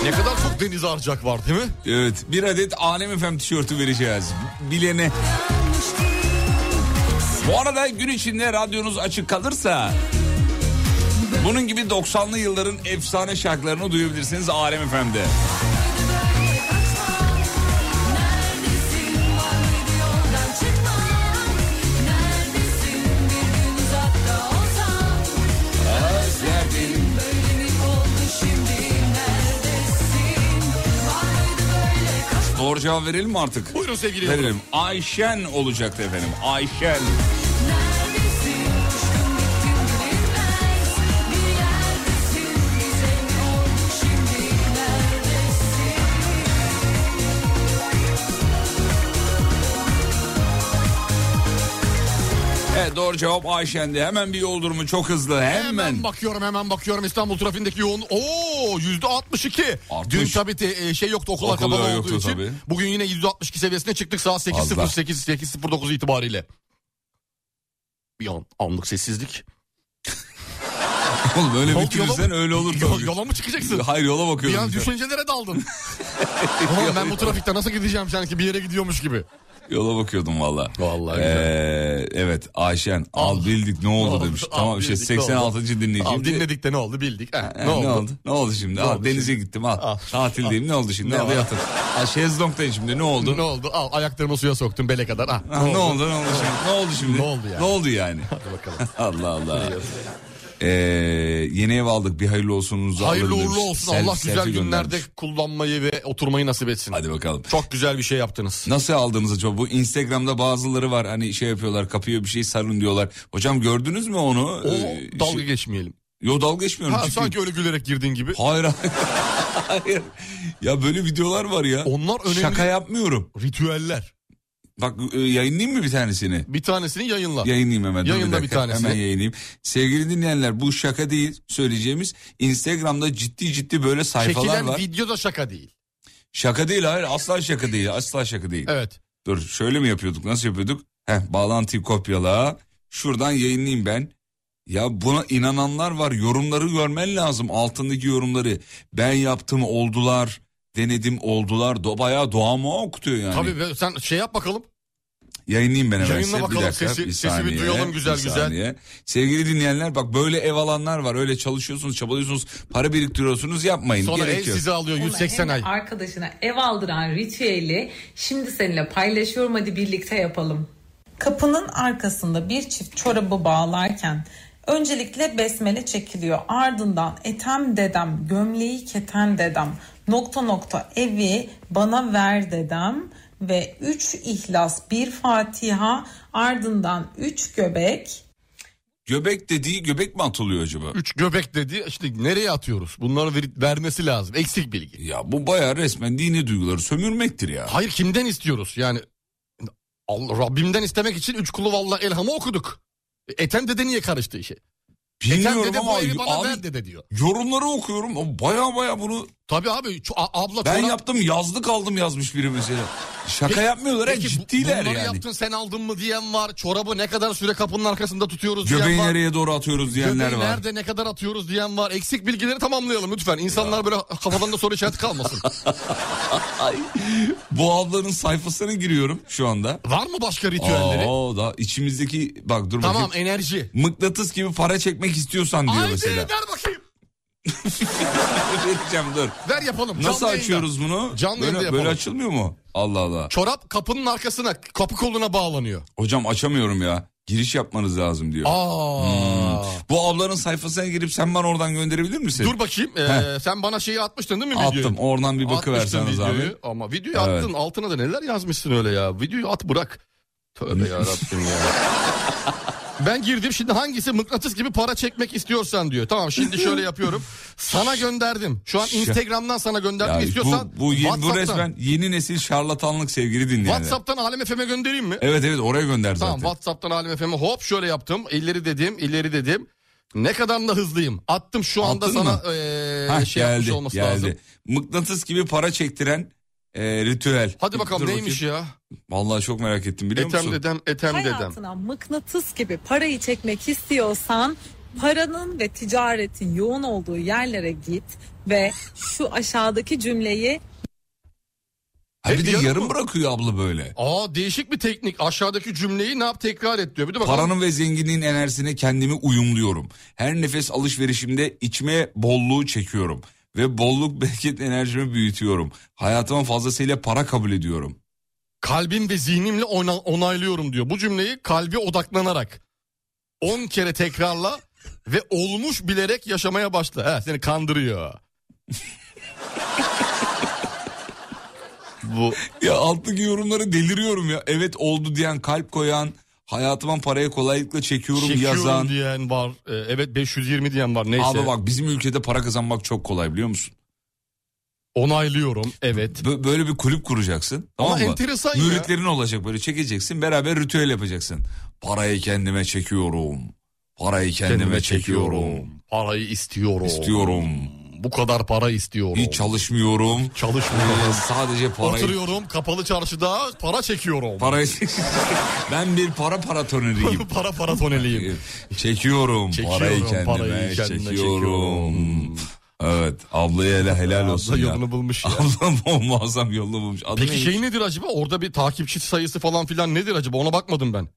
Speaker 6: Ne kadar çok Deniz Arcak var değil mi?
Speaker 5: Evet bir adet Alem FM tişörtü vereceğiz. Bilene. Bu arada gün içinde radyonuz açık kalırsa... Bunun gibi 90'lı yılların efsane şarkılarını duyabilirsiniz Alem FM'de. Doğru cevap verelim mi artık?
Speaker 6: Buyurun sevgili yavrum.
Speaker 5: Verelim. Ayşen olacaktı efendim. Ayşen. Evet doğru cevap Ayşen'de. Hemen bir yol durumu çok hızlı hemen.
Speaker 6: Hemen bakıyorum hemen bakıyorum İstanbul trafiğindeki yoğun. Oo yüzde 62.
Speaker 5: 60.
Speaker 6: Dün tabii te- e, şey yoktu okullar
Speaker 5: Okullar
Speaker 6: kapalı
Speaker 5: yoktu
Speaker 6: olduğu için.
Speaker 5: tabii.
Speaker 6: Bugün yine yüzde 62 seviyesine çıktık saat 8.08 8.09 itibariyle. Bir an, anlık sessizlik.
Speaker 5: Oğlum öyle
Speaker 6: Yol-
Speaker 5: bitirirsen
Speaker 6: yola-
Speaker 5: öyle olur
Speaker 6: Yola,
Speaker 5: tabii.
Speaker 6: yola mı çıkacaksın?
Speaker 5: Hayır yola
Speaker 6: Bir
Speaker 5: bakıyorum.
Speaker 6: an düşüncelere daldın. Ulan ben bu trafikte nasıl gideceğim sanki bir yere gidiyormuş gibi.
Speaker 5: Yola bakıyordum valla.
Speaker 6: Vallahi güzel.
Speaker 5: Ee, evet Ayşen al
Speaker 6: Al.
Speaker 5: bildik ne oldu
Speaker 6: Al,
Speaker 5: demiş.
Speaker 6: al,
Speaker 5: tamam işte
Speaker 6: bildik, ne oldu?
Speaker 5: 86. dinleyicim.
Speaker 6: Al, dinledik de ne oldu bildik. Heh,
Speaker 5: Ee, ne, oldu? Ne oldu şimdi? Al,
Speaker 6: oldu
Speaker 5: denize gittim al.
Speaker 6: Al.
Speaker 5: Tatildeyim ne oldu şimdi?
Speaker 6: Ne
Speaker 5: Ne oldu
Speaker 6: var?
Speaker 5: yatır. Al şezlongdayım şimdi ne oldu?
Speaker 6: Ne oldu? Al ayaklarımı suya soktum bele kadar. Ah,
Speaker 5: Ha, ne oldu ne oldu şimdi? Ne oldu şimdi?
Speaker 6: Ne oldu yani?
Speaker 5: Ne oldu yani?
Speaker 6: Hadi bakalım.
Speaker 5: Allah Allah. Ee, yeni ev aldık bir hayırlı olsununuzu
Speaker 6: Hayırlı
Speaker 5: alın
Speaker 6: uğurlu
Speaker 5: demiş.
Speaker 6: olsun.
Speaker 5: Selfie-
Speaker 6: Allah güzel
Speaker 5: selfie
Speaker 6: günlerde
Speaker 5: göndermiş.
Speaker 6: kullanmayı ve oturmayı nasip etsin.
Speaker 5: Hadi bakalım.
Speaker 6: Çok güzel bir şey yaptınız.
Speaker 5: Nasıl aldığımızı çok bu Instagram'da bazıları var hani şey yapıyorlar kapıya bir şey sarın diyorlar. Hocam gördünüz mü onu?
Speaker 6: O
Speaker 5: Ee,
Speaker 6: dalga
Speaker 5: şey-
Speaker 6: geçmeyelim.
Speaker 5: Yo dalga geçmiyorum.
Speaker 6: Ha,
Speaker 5: ciddi.
Speaker 6: sanki öyle gülerek girdiğin gibi.
Speaker 5: Hayır hayır. hayır. Ya böyle videolar var ya.
Speaker 6: Onlar önemli
Speaker 5: Şaka yapmıyorum.
Speaker 6: ritüeller.
Speaker 5: Bak e, yayınlayayım mı bir tanesini?
Speaker 6: Bir tanesini yayınla.
Speaker 5: Yayınlayayım hemen. dur
Speaker 6: Yayınla bir
Speaker 5: dakika.
Speaker 6: tanesini.
Speaker 5: Hemen yayınlayayım. Sevgili dinleyenler bu şaka değil söyleyeceğimiz. Instagram'da ciddi ciddi böyle sayfalar
Speaker 6: Çekilen
Speaker 5: var.
Speaker 6: video da şaka değil.
Speaker 5: Şaka değil hayır asla şaka değil asla şaka değil.
Speaker 6: Evet.
Speaker 5: Dur şöyle mi yapıyorduk nasıl yapıyorduk? Heh bağlantıyı kopyala. Şuradan yayınlayayım ben. Ya buna inananlar var yorumları görmen lazım altındaki yorumları. Ben yaptım oldular denedim oldular do bayağı doğama okutuyor yani.
Speaker 6: Tabii ve sen şey yap bakalım.
Speaker 5: Yayınlayayım ben hemen
Speaker 6: Yayınla
Speaker 5: size.
Speaker 6: bakalım, sesi- sesi bir duyalım güzel güzel.
Speaker 5: saniye. Sevgili dinleyenler bak böyle ev alanlar var öyle çalışıyorsunuz çabalıyorsunuz para biriktiriyorsunuz yapmayın.
Speaker 6: Sonra
Speaker 5: Gerek
Speaker 6: ev
Speaker 5: yok.
Speaker 6: sizi alıyor
Speaker 10: Ona
Speaker 6: 180
Speaker 10: hem
Speaker 6: ay.
Speaker 10: de Arkadaşına ev aldıran ritüeli şimdi seninle paylaşıyorum hadi birlikte yapalım. Kapının arkasında bir çift çorabı bağlarken öncelikle besmele çekiliyor. Ardından etem dedem, gömleği keten dedem, nokta nokta evi bana ver dedem ve 3 ihlas, bir Fatiha, ardından 3 göbek,
Speaker 5: Göbek dediği göbek mi atılıyor acaba?
Speaker 6: Üç göbek dedi. İşte nereye atıyoruz? Bunları ver- vermesi lazım. Eksik bilgi.
Speaker 5: Ya bu bayağı resmen dini duyguları sömürmektir ya.
Speaker 6: Hayır kimden istiyoruz? Yani Allah, Rabbimden istemek için üç kulu vallahi elhamı okuduk. E, Ethem dede niye karıştı işe? Ethem
Speaker 5: Bilmiyorum
Speaker 6: dede
Speaker 5: ama
Speaker 6: bu evi bana
Speaker 5: abi,
Speaker 6: ver dede diyor.
Speaker 5: yorumları okuyorum. O Baya baya bunu
Speaker 6: Tabii abi ço- a- abla
Speaker 5: ben
Speaker 6: çorap-
Speaker 5: yaptım yazlık aldım yazmış biri mesela. Şaka
Speaker 6: Peki-
Speaker 5: yapmıyorlar ya
Speaker 6: Peki bu-
Speaker 5: ciddiler
Speaker 6: bunları
Speaker 5: yani.
Speaker 6: yaptın sen aldın mı diyen var. Çorabı ne kadar süre kapının arkasında tutuyoruz
Speaker 5: Göbeği
Speaker 6: diyen var.
Speaker 5: nereye doğru atıyoruz diyenler
Speaker 6: Göbeği
Speaker 5: var.
Speaker 6: nerede ne kadar atıyoruz diyen var. Eksik bilgileri tamamlayalım lütfen. İnsanlar böyle kafalarında soru işareti kalmasın.
Speaker 5: Bu ablanın sayfasına giriyorum şu anda.
Speaker 6: var mı başka ritüelleri?
Speaker 5: Aa, da içimizdeki bak dur
Speaker 6: tamam
Speaker 5: bakayım.
Speaker 6: enerji.
Speaker 5: Mıknatıs gibi para çekmek istiyorsan diyor
Speaker 6: Haydi
Speaker 5: mesela.
Speaker 6: ver bakayım.
Speaker 5: Vereceğim dur.
Speaker 6: Ver yapalım. Canlı
Speaker 5: Nasıl
Speaker 6: yayında.
Speaker 5: açıyoruz bunu?
Speaker 6: Canlı yayında
Speaker 5: böyle, böyle
Speaker 6: yapalım.
Speaker 5: açılmıyor mu? Allah Allah.
Speaker 6: Çorap kapının arkasına kapı koluna bağlanıyor.
Speaker 5: Hocam açamıyorum ya. Giriş yapmanız lazım diyor.
Speaker 6: Aa.
Speaker 5: Bu ablanın sayfasına girip sen bana oradan gönderebilir misin?
Speaker 6: Dur bakayım. ee, sen bana şeyi atmıştın değil mi videoyu?
Speaker 5: Attım oradan bir
Speaker 6: Atmıştın
Speaker 5: bakıverseniz
Speaker 6: videoyu
Speaker 5: abi.
Speaker 6: Ama videoyu
Speaker 5: Evet.
Speaker 6: attın altına da neler yazmışsın öyle ya. Videoyu at bırak. Tövbe yarabbim ya. Ben girdim şimdi hangisi mıknatıs gibi para çekmek istiyorsan diyor. Tamam şimdi şöyle yapıyorum. Sana gönderdim. Şu an Instagram'dan sana gönderdim.
Speaker 5: Ya
Speaker 6: istiyorsan
Speaker 5: bu, bu, yeni, bu
Speaker 6: WhatsApp'tan,
Speaker 5: resmen yeni nesil şarlatanlık sevgili dinleyenler.
Speaker 6: WhatsApp'tan Alem FM'e göndereyim mi?
Speaker 5: Evet evet oraya gönder
Speaker 6: Tamam
Speaker 5: zaten.
Speaker 6: WhatsApp'tan Alem FM'e hop şöyle yaptım. İleri dedim, ileri dedim. Ne kadar da hızlıyım. Attım şu anda
Speaker 5: Attın
Speaker 6: sana
Speaker 5: mı?
Speaker 6: eee,
Speaker 5: Hah,
Speaker 6: şey yapmış
Speaker 5: geldi
Speaker 6: olması
Speaker 5: geldi.
Speaker 6: lazım.
Speaker 5: Mıknatıs gibi para çektiren e, ritüel.
Speaker 6: Hadi bakalım
Speaker 5: Dur
Speaker 6: neymiş
Speaker 5: bakayım.
Speaker 6: ya?
Speaker 5: Vallahi çok merak ettim biliyor
Speaker 6: Etem
Speaker 5: musun?
Speaker 6: dedem, etem dedem.
Speaker 10: Hayatına mıknatıs gibi parayı çekmek istiyorsan paranın ve ticaretin yoğun olduğu yerlere git ve şu aşağıdaki cümleyi
Speaker 5: Ha, bir
Speaker 6: E,
Speaker 5: de
Speaker 6: yarım
Speaker 5: yarım,
Speaker 6: mı?
Speaker 5: bırakıyor abla böyle.
Speaker 6: Aa değişik bir teknik. Aşağıdaki cümleyi ne yap tekrar et diyor. Bir de bakalım.
Speaker 5: Paranın ve zenginliğin enerjisine kendimi uyumluyorum. Her nefes alışverişimde içme bolluğu çekiyorum. Ve bolluk bereket enerjimi büyütüyorum. Hayatıma fazlasıyla para kabul ediyorum.
Speaker 6: Kalbim ve zihnimle ona- onaylıyorum diyor. Bu cümleyi kalbe odaklanarak 10 kere tekrarla ve olmuş bilerek yaşamaya başla. He, seni kandırıyor. Bu
Speaker 5: Ya alttaki yorumları deliriyorum ya. Evet oldu diyen, kalp koyan, hayatıma parayı kolaylıkla çekiyorum,
Speaker 6: çekiyorum
Speaker 5: yazan.
Speaker 6: diyen var. Ee, Evet 520 diyen var. Neyse.
Speaker 5: Abi bak bizim ülkede para kazanmak çok kolay biliyor musun? Onaylıyorum evet. böyle bir kulüp kuracaksın.
Speaker 6: Ama
Speaker 5: Tamam mı?
Speaker 6: enteresan ya.
Speaker 5: Müritlerin olacak böyle çekeceksin beraber ritüel yapacaksın. Parayı kendime çekiyorum. Parayı kendime,
Speaker 6: Kendime
Speaker 5: çekiyorum.
Speaker 6: Parayı istiyorum.
Speaker 5: İstiyorum.
Speaker 6: Bu kadar para istiyorum.
Speaker 5: Hiç çalışmıyorum.
Speaker 6: Çalışmıyorum.
Speaker 5: Ee, sadece parayı.
Speaker 6: Oturuyorum kapalı çarşıda para çekiyorum.
Speaker 5: Parayı ben bir para paratoneriyim.
Speaker 6: para paratoneriyim.
Speaker 5: çekiyorum,
Speaker 6: Çekiyorum,
Speaker 5: parayı kendime,
Speaker 6: parayı kendime
Speaker 5: çekiyorum.
Speaker 6: çekiyorum.
Speaker 5: Evet ablaya hele helal olsun ya.
Speaker 6: yolunu bulmuş ya.
Speaker 5: Ablam muazzam yolunu bulmuş. Adı
Speaker 6: Peki
Speaker 5: neymiş?
Speaker 6: şey nedir acaba? Orada bir takipçi sayısı falan filan nedir acaba? Ona bakmadım ben.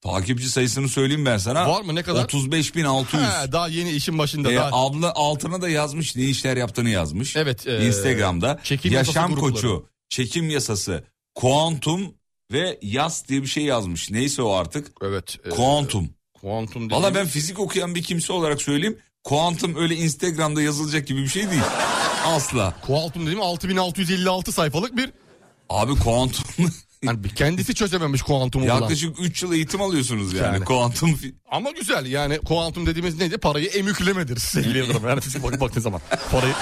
Speaker 5: Takipçi sayısını söyleyeyim ben sana.
Speaker 6: Var mı? Ne kadar?
Speaker 5: 35.600.
Speaker 6: He, daha yeni işin başında.
Speaker 5: Ee,
Speaker 6: daha...
Speaker 5: abla altına da yazmış ne işler yaptığını yazmış.
Speaker 6: Evet. e,
Speaker 5: Instagram'da
Speaker 6: çekim yasası
Speaker 5: yaşam
Speaker 6: grupları.
Speaker 5: koçu, çekim yasası, kuantum ve yas diye bir şey yazmış. Neyse o artık.
Speaker 6: Evet.
Speaker 5: Kuantum.
Speaker 6: Kuantum dediğim-
Speaker 5: Valla ben fizik okuyan bir kimse olarak söyleyeyim. Kuantum öyle Instagram'da yazılacak gibi bir şey değil. Asla.
Speaker 6: Kuantum dediğim 6656 sayfalık bir...
Speaker 5: Abi kuantum...
Speaker 6: Yani kendisi çözememiş kuantumu falan.
Speaker 5: Yaklaşık 3 yıl eğitim alıyorsunuz yani.
Speaker 6: Yani.
Speaker 5: Kuantum... fi-
Speaker 6: Ama güzel yani kuantum dediğimiz neydi? Parayı emüklemedir sevgili Yıldırım. Yani fizik bak- baktığın zaman parayı...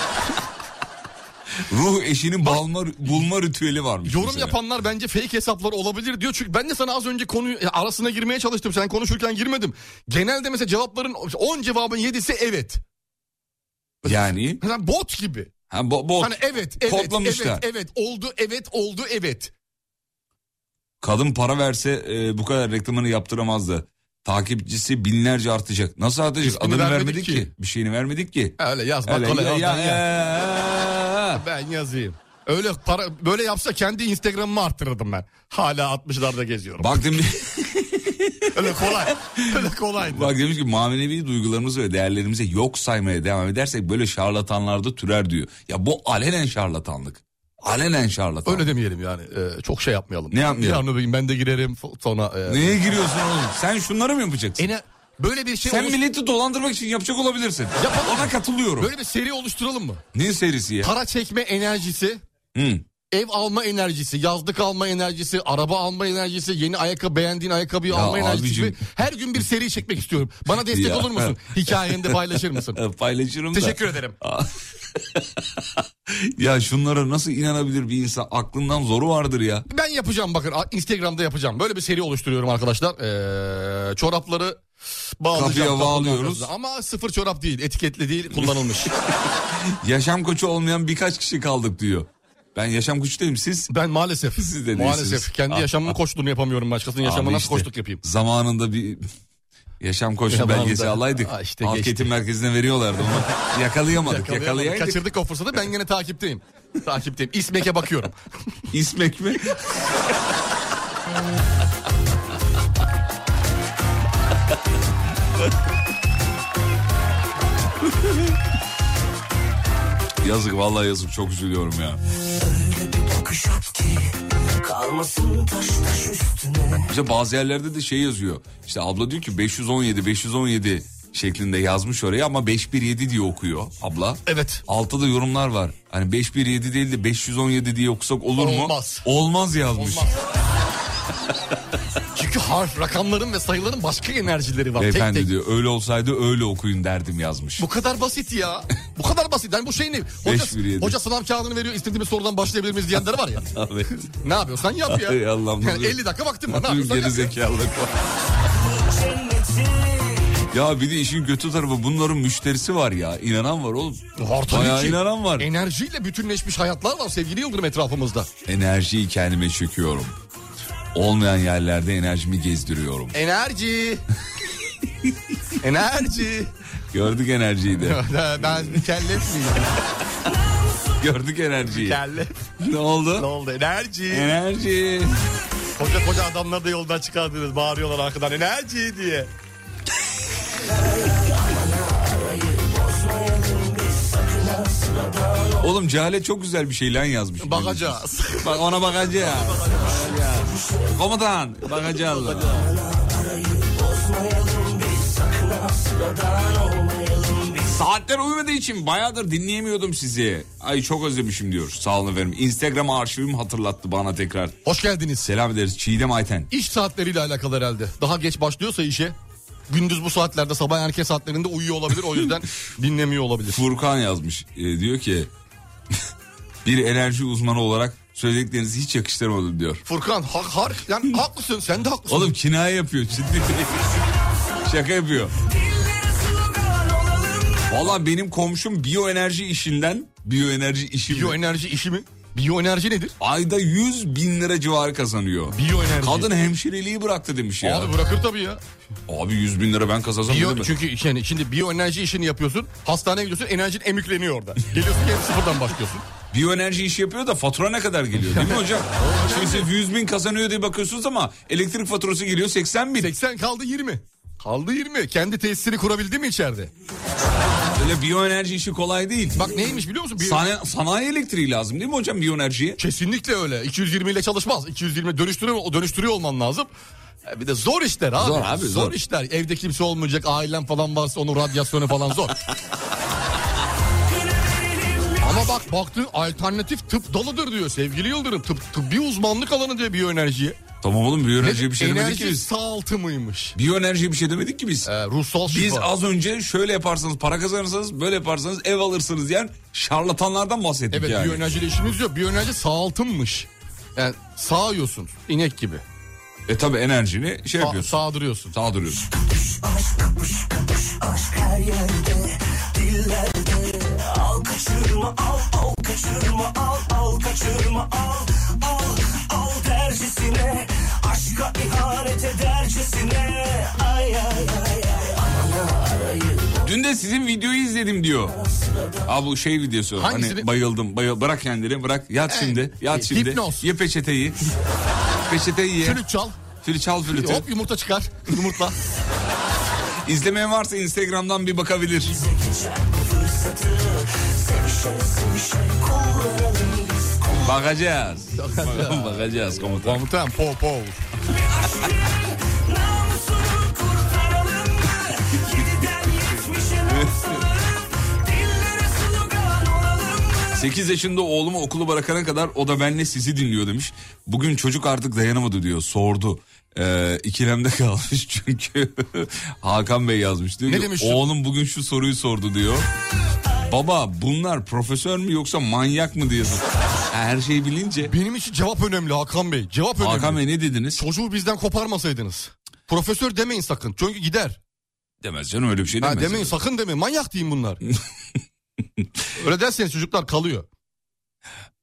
Speaker 5: Ruh eşini balma, bulma ritüeli varmış.
Speaker 6: Yorum
Speaker 5: mesela.
Speaker 6: yapanlar bence fake hesaplar olabilir diyor. Çünkü ben de sana az önce konuyu e, arasına girmeye çalıştım. Sen konuşurken girmedim. Genelde mesela cevapların 10 cevabın 7'si evet.
Speaker 5: Yani...
Speaker 6: Mesela bot gibi.
Speaker 5: Ha, bo- bot.
Speaker 6: Hani evet, evet,
Speaker 5: Kodlamışlar.
Speaker 6: evet, evet, oldu, evet, oldu, evet.
Speaker 5: Kadın para verse e, bu kadar reklamını yaptıramazdı. Takipçisi binlerce artacak. Nasıl artacak?
Speaker 6: İsmini
Speaker 5: Adını
Speaker 6: vermedik
Speaker 5: vermedik, ki.
Speaker 6: ki.
Speaker 5: Bir şeyini vermedik ki.
Speaker 6: Öyle yazmak
Speaker 5: Öyle,
Speaker 6: kolay.
Speaker 5: ya-
Speaker 6: oradan
Speaker 5: ya-
Speaker 6: yaz. Ben yazayım. Öyle para böyle yapsa kendi Instagram'ımı arttırırdım ben. Hala 60'larda geziyorum.
Speaker 5: Bak demiş,
Speaker 6: Öyle kolay. Öyle kolaydı.
Speaker 5: bak demiş ki manevi duygularımızı ve değerlerimizi yok saymaya devam edersek böyle şarlatanlarda türer diyor. Ya bu alenen şarlatanlık. Alenen şarlatan.
Speaker 6: Öyle demeyelim yani. Ee, çok şey yapmayalım.
Speaker 5: Ne yapmayalım?
Speaker 6: Bir an öpeyim, ben de girerim fo- sonra. e,
Speaker 5: Neye giriyorsun oğlum? Sen şunları mı yapacaksın?
Speaker 6: ene- böyle bir şey
Speaker 5: Sen
Speaker 6: oluş-
Speaker 5: milleti dolandırmak için yapacak olabilirsin.
Speaker 6: Yapalım.
Speaker 5: Ona katılıyorum.
Speaker 6: Böyle bir seri oluşturalım mı?
Speaker 5: Ne serisi ya?
Speaker 6: Para çekme enerjisi,
Speaker 5: Hı.
Speaker 6: ev alma enerjisi, yazlık alma enerjisi, araba alma enerjisi, yeni ayakkabı beğendiğin ayakkabıyı
Speaker 5: Ya
Speaker 6: alma enerjisi.
Speaker 5: abicim.
Speaker 6: gibi Her gün bir seri çekmek istiyorum. Bana destek
Speaker 5: Ya.
Speaker 6: olur musun? Hikayende paylaşır mısın?
Speaker 5: E, Paylaşırım da.
Speaker 6: Teşekkür ederim.
Speaker 5: Ya şunlara nasıl inanabilir bir insan? Aklından zoru vardır ya.
Speaker 6: Ben yapacağım bakın A- Instagram'da yapacağım. Böyle bir seri oluşturuyorum arkadaşlar. Ee, çorapları bağlayacağım.
Speaker 5: Kapıya
Speaker 6: kapının
Speaker 5: bağlıyoruz.
Speaker 6: arkasına. Ama sıfır çorap değil. Etiketli değil. Kullanılmış.
Speaker 5: Yaşam koçu olmayan birkaç kişi kaldık diyor. Ben yaşam koçu değilim siz.
Speaker 6: ben maalesef.
Speaker 5: Siz de değilsiniz.
Speaker 6: maalesef. Kendi
Speaker 5: Ah,
Speaker 6: yaşamımın koçluğunu yapamıyorum. Başkasının yaşamına
Speaker 5: Abi
Speaker 6: nasıl
Speaker 5: işte,
Speaker 6: koçluk yapayım?
Speaker 5: Zamanında bir yaşam koçu
Speaker 6: Zamanında.
Speaker 5: belgesi alaydık.
Speaker 6: Aa, işte
Speaker 5: Halk
Speaker 6: geçti.
Speaker 5: eğitim merkezine veriyorlardı ama yakalayamadık.
Speaker 6: Yakalayamadım.
Speaker 5: Yakalayamadık.
Speaker 6: Kaçırdık o fırsatı. Ben yine takipteyim. takipteyim. İsmek'e bakıyorum.
Speaker 5: İsmek mi? yazık vallahi yazık çok üzülüyorum ya.
Speaker 2: Bakış at ki kalmasın taş taş üstüne.
Speaker 5: İşte bazı yerlerde de şey yazıyor. İşte abla diyor ki 517 517 şeklinde yazmış oraya ama 517 diye okuyor abla.
Speaker 6: Evet.
Speaker 5: Altta da yorumlar var. Hani 517 değil de 517 diye okusak olur mu?
Speaker 6: Olmaz.
Speaker 5: Olmaz yazmış.
Speaker 6: Olmaz. Çünkü harf, rakamların ve sayıların başka enerjileri var.
Speaker 5: Beyefendi
Speaker 6: tek tek.
Speaker 5: diyor öyle olsaydı öyle okuyun derdim yazmış.
Speaker 6: Bu kadar basit ya. Bu kadar basit. Yani bu şey ne? Hoca,
Speaker 5: Beş bir yedi.
Speaker 6: hoca sınav kağıdını veriyor. İstediğimiz sorudan başlayabilir miyiz diyenler var ya.
Speaker 5: Abi.
Speaker 6: ne yapıyorsan yap ya.
Speaker 5: Ay Allah'ım.
Speaker 6: yani 50 dakika vaktim var. Ne
Speaker 5: Tüm
Speaker 6: yapıyorsan yap.
Speaker 5: gerizekalılık var. Ya bir de işin kötü tarafı bunların müşterisi var ya. İnanan var oğlum.
Speaker 6: Var tabii
Speaker 5: Bayağı
Speaker 6: ki.
Speaker 5: inanan var.
Speaker 6: Enerjiyle bütünleşmiş hayatlar var sevgili Yıldırım etrafımızda.
Speaker 5: Enerjiyi kendime çekiyorum. Olmayan yerlerde enerjimi gezdiriyorum.
Speaker 6: Enerji. Enerji.
Speaker 5: Gördük enerjiyi de.
Speaker 6: ben mükellef miyim?
Speaker 5: Gördük enerjiyi.
Speaker 6: Mükellef.
Speaker 5: Ne
Speaker 6: Ne
Speaker 5: oldu?
Speaker 6: oldu? Enerji.
Speaker 5: Enerji.
Speaker 6: Koca koca adamları da yoldan çıkardınız. Bağırıyorlar arkadan enerji diye.
Speaker 5: Oğlum Cale çok güzel bir şey lan yazmış.
Speaker 6: Bakacağız.
Speaker 5: Bak ona bakacağız. Komutan bakacağız. Saatler uyumadığı için bayağıdır dinleyemiyordum sizi. Ay çok özlemişim diyor. Sağ olun efendim. Instagram arşivim hatırlattı bana tekrar.
Speaker 6: Hoş geldiniz.
Speaker 5: Selam ederiz Çiğdem Ayten.
Speaker 6: İş saatleriyle alakalı herhalde. Daha geç başlıyorsa işe gündüz bu saatlerde sabah erken saatlerinde uyuyor olabilir. O yüzden dinlemiyor olabilir.
Speaker 5: Furkan yazmış. Ee, diyor ki bir enerji uzmanı olarak söylediklerinizi hiç yakıştıramadım diyor.
Speaker 6: Furkan hak, har, yani haklısın sen de haklısın.
Speaker 5: Oğlum kinaye yapıyor ciddi değil. Şaka yapıyor. Valla benim komşum biyoenerji işinden biyoenerji işi
Speaker 6: Biyoenerji işi mi? Biyoenerji nedir?
Speaker 5: Ayda 100 bin lira civarı kazanıyor.
Speaker 6: Biyoenerji.
Speaker 5: Kadın hemşireliği bıraktı demiş ya.
Speaker 6: Abi bırakır tabii ya.
Speaker 5: Abi 100 bin lira ben kazansam
Speaker 6: Biyo-
Speaker 5: değil mi?
Speaker 6: çünkü yani şimdi biyoenerji işini yapıyorsun. Hastaneye gidiyorsun enerjin emükleniyor orada. Geliyorsun hep sıfırdan başlıyorsun.
Speaker 5: Biyoenerji işi yapıyor da fatura ne kadar geliyor değil mi hocam? Şimdi siz 100 bin kazanıyor diye bakıyorsunuz ama elektrik faturası geliyor 80 bin.
Speaker 6: 80 kaldı 20. Kaldı 20. Kendi tesisini kurabildi mi içeride?
Speaker 5: Öyle biyoenerji işi kolay değil.
Speaker 6: Bak neymiş biliyor musun? Biyo-
Speaker 5: Sana, sanayi elektriği lazım değil mi hocam biyoenerjiye?
Speaker 6: Kesinlikle öyle. 220 ile çalışmaz. 220 dönüştürüyor, o dönüştürüyor olman lazım. E Bir de zor işler abi.
Speaker 5: Zor abi, zor.
Speaker 6: işler. Evde kimse olmayacak. Ailen falan varsa onun radyasyonu falan zor. Ama bak baktığın alternatif tıp dalıdır diyor sevgili Yıldırım. Tıp, tıbbi uzmanlık alanı diyor biyoenerjiye.
Speaker 5: Tamam oğlum biyoenerjiye
Speaker 6: enerji
Speaker 5: bir şey demedik ki
Speaker 6: enerji
Speaker 5: biz.
Speaker 6: sağaltı mıymış?
Speaker 5: Biyoenerjiye bir şey demedik ki biz.
Speaker 6: Ee, ruhsal şifa.
Speaker 5: Biz az önce şöyle yaparsanız para kazanırsanız böyle yaparsanız ev alırsınız diyen şarlatanlardan bahsettik
Speaker 6: Evet
Speaker 5: yani.
Speaker 6: biyoenerjiyle işimiz yok. Biyoenerji sağaltınmış. Yani sağıyorsun inek gibi.
Speaker 5: E tabi enerjini şey
Speaker 6: Sa-
Speaker 5: yapıyorsun.
Speaker 6: sağdırıyorsun.
Speaker 5: Sağa duruyorsun. Dün de sizin videoyu izledim diyor. Aa bu şey videosu.
Speaker 6: Hangisini?
Speaker 5: Hani bayıldım. bayıl- bırak kendini bırak. Yat şimdi. Yat şimdi.
Speaker 6: Ee, e, hipnoz.
Speaker 5: Ye peçeteyi. peçeteyi ye.
Speaker 6: Flüt çal.
Speaker 5: Flüt çal flütü.
Speaker 6: Hop yumurta çıkar. Yumurtla.
Speaker 5: İzlemeyen varsa Instagram'dan bir bakabilir. Bakacağız. Bakacağız komutan.
Speaker 6: Komutan po po.
Speaker 5: Sekiz yaşında oğlumu okulu bırakana kadar o da benle sizi dinliyor demiş. Bugün çocuk artık dayanamadı diyor sordu. Ee, ikilemde kalmış çünkü Hakan Bey yazmış diyor
Speaker 6: Ne
Speaker 5: ki,
Speaker 6: demiş?
Speaker 5: oğlum bugün şu soruyu sordu diyor. Baba bunlar profesör mü yoksa manyak mı diye. sor- Her şeyi bilince
Speaker 6: Benim için cevap önemli Hakan Bey. Cevap önemli.
Speaker 5: Hakan Bey ne dediniz?
Speaker 6: Çocuğu bizden koparmasaydınız. Profesör demeyin sakın. Çünkü gider.
Speaker 5: Demez canım öyle bir şey
Speaker 6: Ha,
Speaker 5: demez.
Speaker 6: demeyin sakın demeyin. Manyak deyin bunlar. Öyle derseniz çocuklar kalıyor.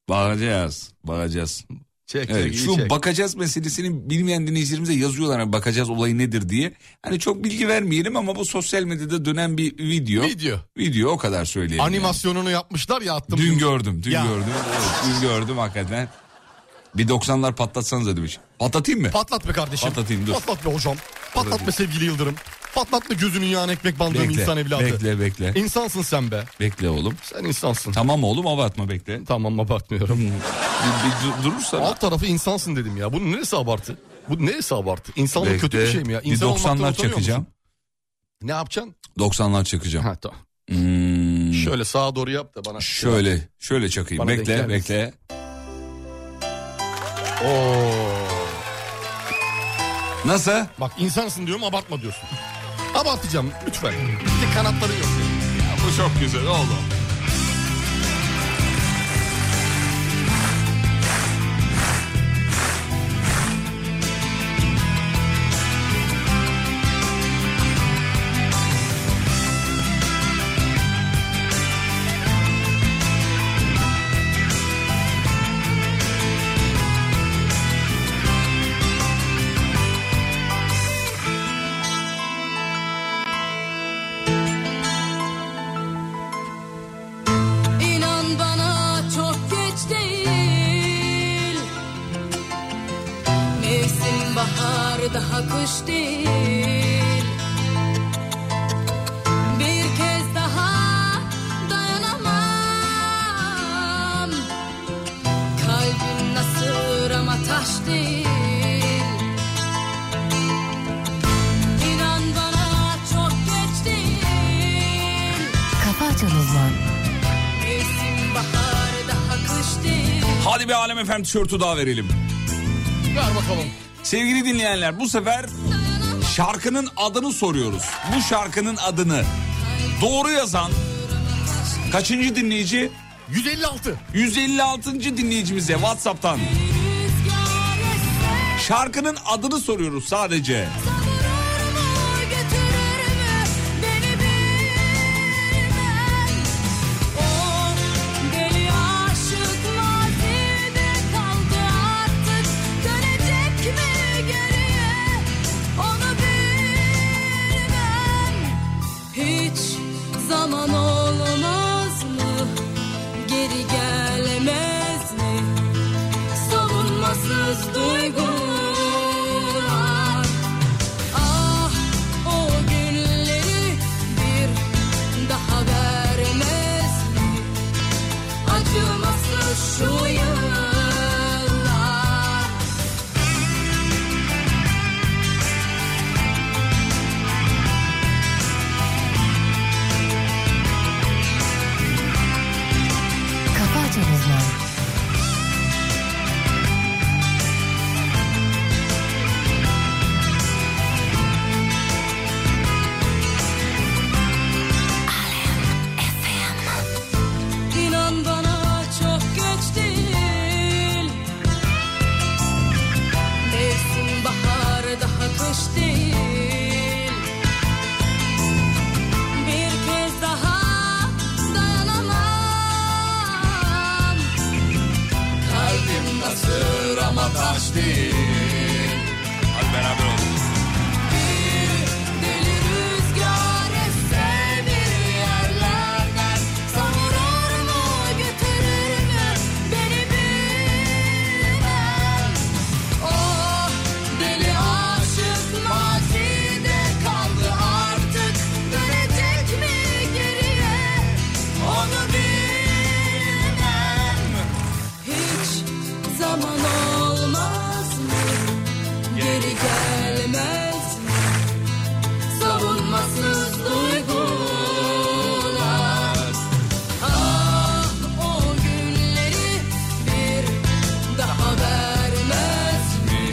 Speaker 5: Bakacağız. Bakacağız.
Speaker 6: Çek,
Speaker 5: Evet, şu bakacağız meselesini bilmeyen dinleyicilerimize yazıyorlar. Hani bakacağız olayı nedir diye. Hani çok bilgi vermeyelim ama bu sosyal medyada dönen bir video.
Speaker 6: Video.
Speaker 5: Video o kadar söyleyeyim.
Speaker 6: Animasyonunu yapmışlar ya attım.
Speaker 5: yani. Dün gördüm. Dün
Speaker 6: Ya.
Speaker 5: gördüm. Evet, dün gördüm hakikaten. Bir 90'lar patlatsanız demiş. Patlatayım mı?
Speaker 6: Patlat be kardeşim.
Speaker 5: Patlatayım, dur.
Speaker 6: Patlat be hocam. Patlat be sevgili Yıldırım. Patlat be gözünün yağına ekmek bandığım
Speaker 5: bekle,
Speaker 6: insan evladı.
Speaker 5: bekle bekle.
Speaker 6: İnsansın sen be.
Speaker 5: Bekle oğlum.
Speaker 6: Sen insansın.
Speaker 5: Tamam Hmm. oğlum abartma bekle.
Speaker 6: Tamam abartmıyorum.
Speaker 5: Bir, bir dur- durursa.
Speaker 6: Alt tarafı insansın dedim ya. Bunun neresi abartı? Bu neresi abartı? İnsanlık
Speaker 5: Bekle.
Speaker 6: kötü bir şey mi ya?
Speaker 5: Bir
Speaker 6: İnsan olmaktan
Speaker 5: 90'lar
Speaker 6: utanıyor
Speaker 5: çakacağım.
Speaker 6: musun? Ne yapacaksın?
Speaker 5: 90'lar çakacağım.
Speaker 6: Ha tamam.
Speaker 5: Hmm.
Speaker 6: Şöyle sağa doğru yap da bana.
Speaker 5: Şöyle, şöyle çakayım.
Speaker 6: Bana denk
Speaker 5: bekle,
Speaker 6: gelmesin.
Speaker 5: bekle.
Speaker 6: Oo.
Speaker 5: Nasıl?
Speaker 6: Bak insansın diyorum abartma diyorsun. Abartacağım lütfen. Bir de kanatları yok.
Speaker 5: Bu çok güzel oğlum.
Speaker 3: İnan bana çok geç değil Mevsim bahar daha kış değil Bir kez daha dayanamam Kalbim nasır ama taş değil İnan bana çok geç değil
Speaker 1: Kafa açan uzman.
Speaker 3: Mevsim bahar daha kış değil
Speaker 5: Hadi bir Alem Efem tişörtü daha verelim.
Speaker 6: Ver bakalım.
Speaker 5: Sevgili dinleyenler bu sefer şarkının adını soruyoruz. Bu şarkının adını doğru yazan kaçıncı dinleyici?
Speaker 6: 156.
Speaker 5: 156. dinleyicimize WhatsApp'tan. Şarkının adını soruyoruz sadece.
Speaker 3: Deli aşık mazide kaldı artık Dönecek mi geriye onu bilmem Hiç zaman olmaz mı geri gelemez mi Savunmasız duygular Ah o günleri bir daha vermez mi Acımasız şu yıllar
Speaker 1: Kafa Açan Uzman.
Speaker 3: İnan bana çok geç değil Mevsim bahar daha kış değil Bir kez daha dayanamam Kalbim basır ama taş değil
Speaker 5: Hadi beraber olalım.
Speaker 3: Deli rüzgar eser bir yerlerden Savurur mu götürür mü beni bilmem O deli aşık mazide kaldı artık Dönecek mi geriye onu bilmem Hiç zaman olmaz mı geri gelmez mi savunmasız duygular. Ah o günleri bir daha vermez mi?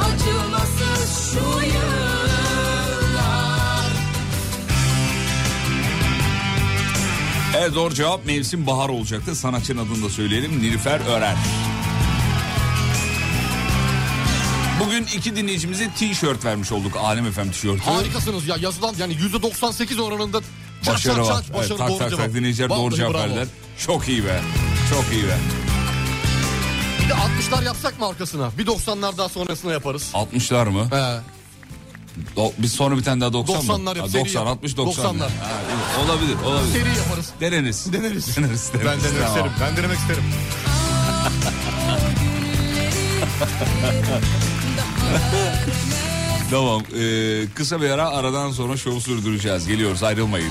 Speaker 3: Acımasız şu yıllar.
Speaker 5: Evet doğru cevap mevsim bahar olacaktı. Sanatçının adını da söyleyelim. Nilüfer Örer. Bugün iki dinleyicimize tişört vermiş olduk. Alem Efem tişörtü.
Speaker 6: Harikasınız ya yazılan yani %98 oranında çat
Speaker 5: Başarı
Speaker 6: çat
Speaker 5: var.
Speaker 6: çat
Speaker 5: Evet,
Speaker 6: başarı
Speaker 5: tak
Speaker 6: doğru
Speaker 5: tak
Speaker 6: cevap.
Speaker 5: tak dinleyiciler doğru
Speaker 6: Vallahi
Speaker 5: cevap
Speaker 6: bravo.
Speaker 5: verdiler. Çok iyi be. Çok iyi be.
Speaker 6: Bir de 60'lar yapsak mı arkasına? Bir 90'lar daha sonrasına yaparız.
Speaker 5: 60'lar mı?
Speaker 6: He.
Speaker 5: Do- Biz sonra bir tane daha 90 mı?
Speaker 6: 90'lar yap,
Speaker 5: Ha,
Speaker 6: seri
Speaker 5: 90,
Speaker 6: yap.
Speaker 5: 60, 90.
Speaker 6: 90'lar.
Speaker 5: Ha, iyi. olabilir, olabilir.
Speaker 6: Seri yaparız.
Speaker 5: Deneriz.
Speaker 6: Deneriz.
Speaker 5: Deneriz, deneriz.
Speaker 6: Ben denemek
Speaker 5: Tamam.
Speaker 6: isterim. Ben denemek isterim.
Speaker 5: Tamam. ee, kısa bir ara aradan sonra şovu sürdüreceğiz. Geliyoruz ayrılmayın.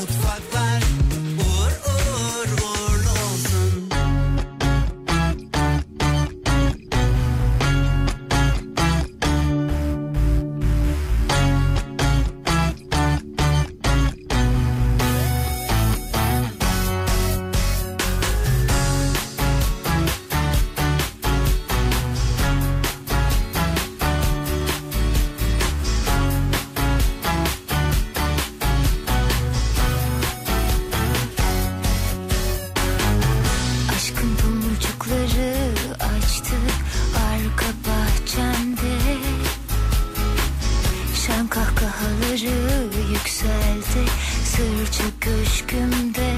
Speaker 8: Mutfaklar uğur uğur uğurlu olsun.
Speaker 11: Aşkın pamukçukları açtı arka bahçemde Şen kahkahaları yükseldi sırça köşkümde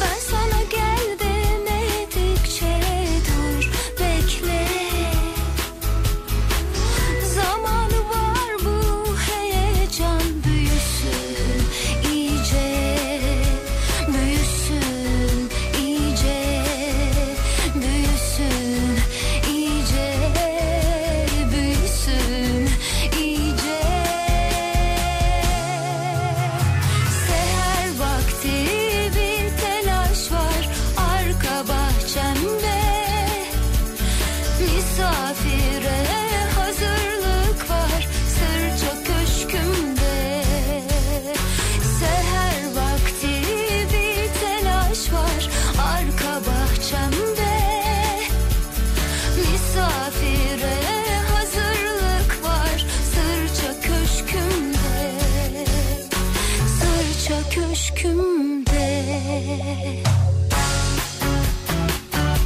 Speaker 11: Ben sana gel demedikçe dur bekle Zamanı var bu heyecan büyüsün iyice Büyüsün iyice, büyüsün iyice, büyüsün iyice. Seher vakti köşkümde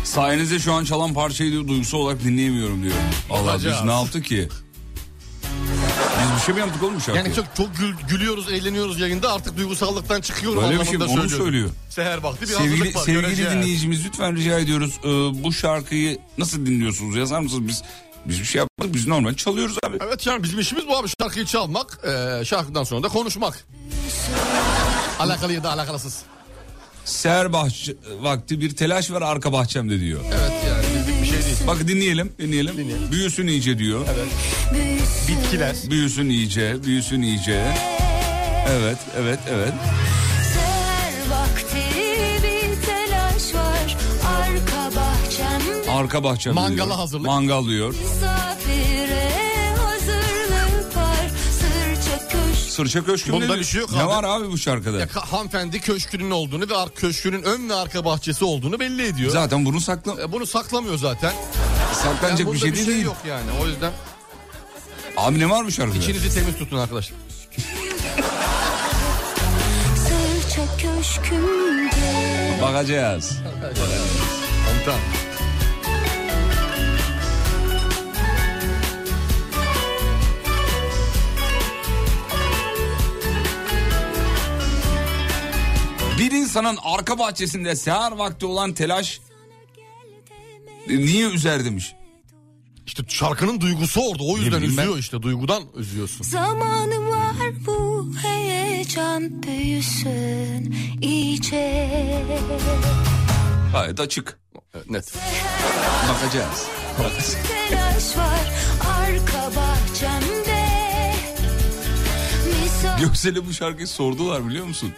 Speaker 5: Sayenizde şu an çalan parçayı diyor, duygusal olarak dinleyemiyorum diyor. Allah biz
Speaker 6: Olacağız.
Speaker 5: ne yaptık ki? Biz bir şey mi yaptık oğlum bu şarkıya?
Speaker 6: Yani çok çok gül- gülüyoruz, eğleniyoruz yayında. Artık duygusallıktan çıkıyorum
Speaker 5: Böyle bir şey
Speaker 6: anlamında
Speaker 5: mi? Onu mu
Speaker 6: söylüyorum.
Speaker 5: söylüyor?
Speaker 6: Seher baktı bir
Speaker 5: sevgili
Speaker 6: hazırlık var.
Speaker 5: sevgili
Speaker 6: göreceğiz.
Speaker 5: dinleyicimiz lütfen rica ediyoruz. Ee, bu şarkıyı nasıl dinliyorsunuz? Yazar mısınız? Biz biz bir şey yapmadık. Biz normal çalıyoruz abi.
Speaker 6: Evet yani bizim işimiz bu abi şarkıyı çalmak, eee, şarkıdan sonra da konuşmak. alakalı ya da alakalısız.
Speaker 5: Seher bahçe, vakti bir telaş var arka bahçemde diyor.
Speaker 6: Evet yani bizlik bir şey değil.
Speaker 5: Bak dinleyelim, dinleyelim. Büyüsün iyice diyor.
Speaker 6: Bitkiler.
Speaker 5: Büyüsün iyice, büyüsün iyice. Evet, evet, evet.
Speaker 11: Seher vakti bir telaş var Arka bahçemde
Speaker 5: Arka bahçemde
Speaker 6: Mangala
Speaker 5: diyor.
Speaker 6: hazırlık.
Speaker 5: Mangal diyor.
Speaker 11: misafire hazırlık var Sırça köşk
Speaker 5: Sırça köşkümde
Speaker 6: Bunda
Speaker 5: diyor.
Speaker 6: bir şey yok
Speaker 5: Ne
Speaker 6: abi.
Speaker 5: var abi bu şarkıda?
Speaker 6: Ya, ka- hanımefendi köşkünün olduğunu ve ar- köşkünün ön ve arka bahçesi olduğunu belli ediyor.
Speaker 5: Zaten bunu sakla
Speaker 6: E, bunu saklamıyor zaten. Yani
Speaker 5: saklanacak
Speaker 6: bunda
Speaker 5: bir şey değil.
Speaker 6: yok yani o yüzden.
Speaker 5: Abi ne var bu şarkıda?
Speaker 6: İçinizi temiz tutun arkadaşlar.
Speaker 11: Sırça köşkümde
Speaker 5: Bakacağız.
Speaker 6: Komutan.
Speaker 5: Bir insanın arka bahçesinde seher vakti olan telaş e, niye üzer demiş.
Speaker 6: İşte şarkının duygusu orada o yüzden
Speaker 5: bileyim ben.
Speaker 6: üzüyor işte duygudan üzüyorsun.
Speaker 11: Zamanı var bu heyecan büyüsün iyice
Speaker 5: Gayet açık.
Speaker 6: Net.
Speaker 5: Bakacağız.
Speaker 11: Telaş var arka bahçemde Misafir
Speaker 5: Göksel'e bu şarkıyı sordular biliyor musun?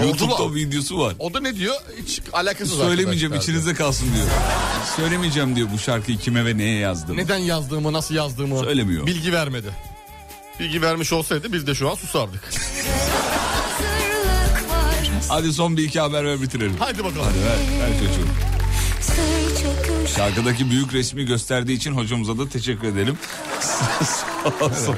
Speaker 5: YouTube'da
Speaker 6: Sordular.
Speaker 5: videosu var.
Speaker 6: O da ne diyor? Hiç alakasız
Speaker 5: Söylemeyeceğim
Speaker 6: arkadaşlar.
Speaker 5: içinize kalsın diyor. Söylemeyeceğim diyor bu şarkıyı kime ve neye yazdım.
Speaker 6: Neden yazdığımı, nasıl yazdığımı
Speaker 5: Söylemiyor.
Speaker 6: bilgi vermedi. Bilgi vermiş olsaydı biz de şu an susardık.
Speaker 11: hazırlık var
Speaker 5: Hadi son bir iki haber ver bitirelim.
Speaker 6: Haydi bakalım.
Speaker 5: Hadi ver, ver çocuğum.
Speaker 11: Sırça köşk
Speaker 5: Şarkıdaki büyük resmi gösterdiği için hocamıza da teşekkür edelim. Sağ olsun.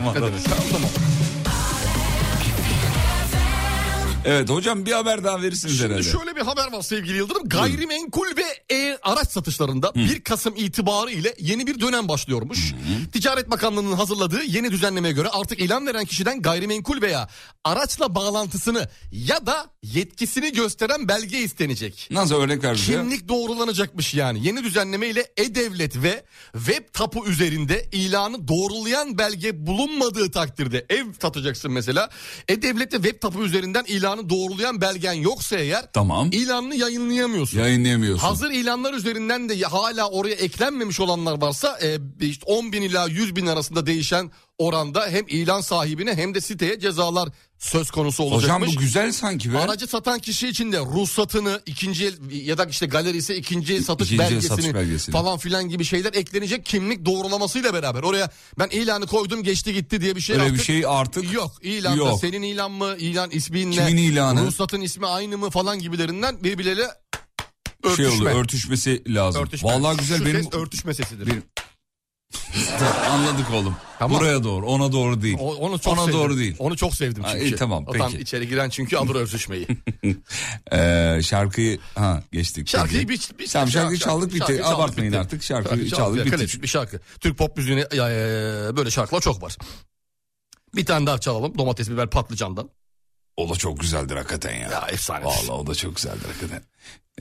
Speaker 5: Evet hocam bir haber daha verirsiniz
Speaker 6: Şimdi
Speaker 5: herhalde.
Speaker 6: E, şöyle bir haber var sevgili Yıldırım. Gayrimenkul ve e, araç satışlarında 1 Kasım itibarı ile yeni bir dönem başlıyormuş. Ticaret Bakanlığı'nın hazırladığı yeni düzenlemeye göre artık ilan veren kişiden gayrimenkul veya araçla bağlantısını ya da yetkisini gösteren belge istenecek.
Speaker 5: Nasıl örnek ver bize?
Speaker 6: Kimlik doğrulanacakmış yani. Yeni düzenleme ile e-devlet ve web tapu üzerinde ilanı doğrulayan belge bulunmadığı takdirde ev satacaksın mesela. E-devlet ve web tapu üzerinden ilanı doğrulayan belgen yoksa eğer
Speaker 5: Tamam.
Speaker 6: ilanını yayınlayamıyorsun.
Speaker 5: Yayınlayamıyorsun.
Speaker 6: Hazır ilanlar üzerinden de hala oraya eklenmemiş olanlar varsa e, işte 10 bin ila 100 bin arasında değişen oranda hem ilan sahibine hem de siteye cezalar söz konusu olacakmış.
Speaker 5: Hocam bu güzel sanki be.
Speaker 6: Aracı satan kişi için de ruhsatını ikinci el ya da işte galerisi ikinci el satış,
Speaker 5: İkinci el
Speaker 6: belgesini,
Speaker 5: satış belgesini.
Speaker 6: falan filan gibi şeyler eklenecek kimlik doğrulamasıyla beraber. Oraya ben ilanı koydum geçti gitti diye bir şey
Speaker 5: Öyle bir
Speaker 6: artık
Speaker 5: şey artık
Speaker 6: Yok ilanda
Speaker 5: Yok.
Speaker 6: senin ilan mı ilan isminle
Speaker 5: Kimin ilanı?
Speaker 6: ruhsatın ismi aynı mı falan gibilerinden birbirleriyle
Speaker 5: şey
Speaker 6: örtüşme.
Speaker 5: oluyor örtüşmesi lazım.
Speaker 6: Örtüşme.
Speaker 5: Vallahi güzel
Speaker 6: Şu
Speaker 5: benim
Speaker 6: ses örtüşme sesidir.
Speaker 5: Benim- anladık oğlum.
Speaker 6: Tamam.
Speaker 5: Buraya doğru ona doğru değil.
Speaker 6: O- onu çok
Speaker 5: ona
Speaker 6: sevdim.
Speaker 5: doğru değil.
Speaker 6: Onu çok sevdim
Speaker 5: Ha,
Speaker 6: çünkü.
Speaker 5: iyi, tamam,
Speaker 6: o tam
Speaker 5: peki.
Speaker 6: içeri giren çünkü alır örtüşmeyi.
Speaker 5: Ee, şarkıyı ha geçtik.
Speaker 6: Şarkıyı
Speaker 5: Peki.
Speaker 6: bir, bir
Speaker 5: Tamam, şarkıyı
Speaker 6: şarkı-
Speaker 5: çaldık bitti.
Speaker 6: şarkıyı çaldık,
Speaker 5: Abartmayın
Speaker 6: bitti.
Speaker 5: artık. Şarkıyı çaldık
Speaker 6: ya,
Speaker 5: bitti.
Speaker 6: klasik bir şarkı. Türk pop müziğine e, böyle şarkılar çok var. Bir tane daha çalalım. Domates, biber, patlıcandan.
Speaker 5: O da çok güzeldir hakikaten ya.
Speaker 6: Ya efsane.
Speaker 5: Vallahi o da çok güzeldir hakikaten.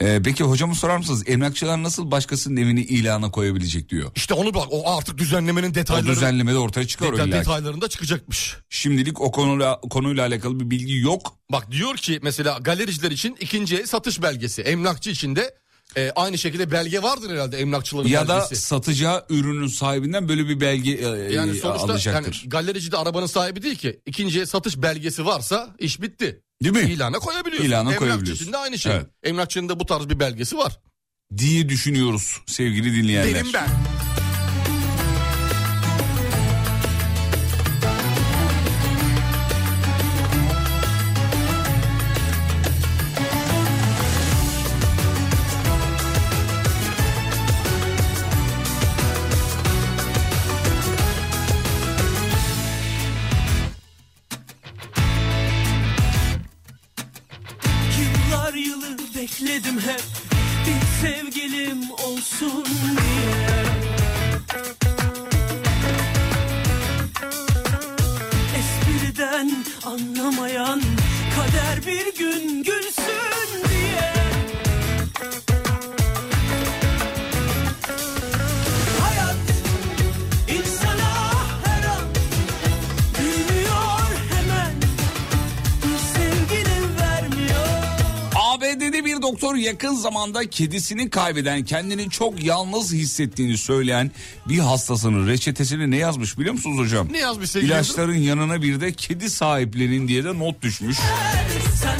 Speaker 5: Ee, peki hocamı sorar mısınız? Emlakçılar nasıl başkasının evini ilana koyabilecek diyor.
Speaker 6: İşte onu bak. O artık düzenlemenin
Speaker 5: O
Speaker 6: detayları.
Speaker 5: düzenlemede ortaya çıkar o
Speaker 6: deta-
Speaker 5: illa ki.
Speaker 6: detaylarında çıkacakmış.
Speaker 5: Şimdilik o konuyla, konuyla alakalı bir bilgi yok.
Speaker 6: Bak diyor ki mesela galericiler için ikinci el satış belgesi. Emlakçı için de e, aynı şekilde belge vardır herhalde emlakçıların
Speaker 5: Ya da
Speaker 6: belgesi.
Speaker 5: satacağı ürünün sahibinden böyle bir belge e,
Speaker 6: yani sonuçta yani
Speaker 5: alacaktır.
Speaker 6: galerici de arabanın sahibi değil ki. İkinci el satış belgesi varsa iş bitti.
Speaker 5: Değil mi?
Speaker 6: İlana koyabiliyorsun.
Speaker 5: İlana
Speaker 6: Emlakçı
Speaker 5: koyabiliyorsun.
Speaker 6: için de aynı şey.
Speaker 5: Evet.
Speaker 6: Emlakçının da bu tarz bir belgesi var.
Speaker 5: Diye düşünüyoruz sevgili dinleyenler.
Speaker 6: Derim ben.
Speaker 4: bekledim hep bir sevgilim olsun diye. Espriden anlamayan kader bir gün gülsün diye. Hayat insana her an gülüyor hemen bir sevgini vermiyor.
Speaker 5: ABD'de bir doktor yakın zamanda kedisini kaybeden, kendini çok yalnız hissettiğini söyleyen bir hastasının reçetesini ne yazmış biliyor musunuz hocam?
Speaker 6: Ne yazmış sevgili
Speaker 5: İlaçların yanına bir de kedi sahiplenin diye de not düşmüş.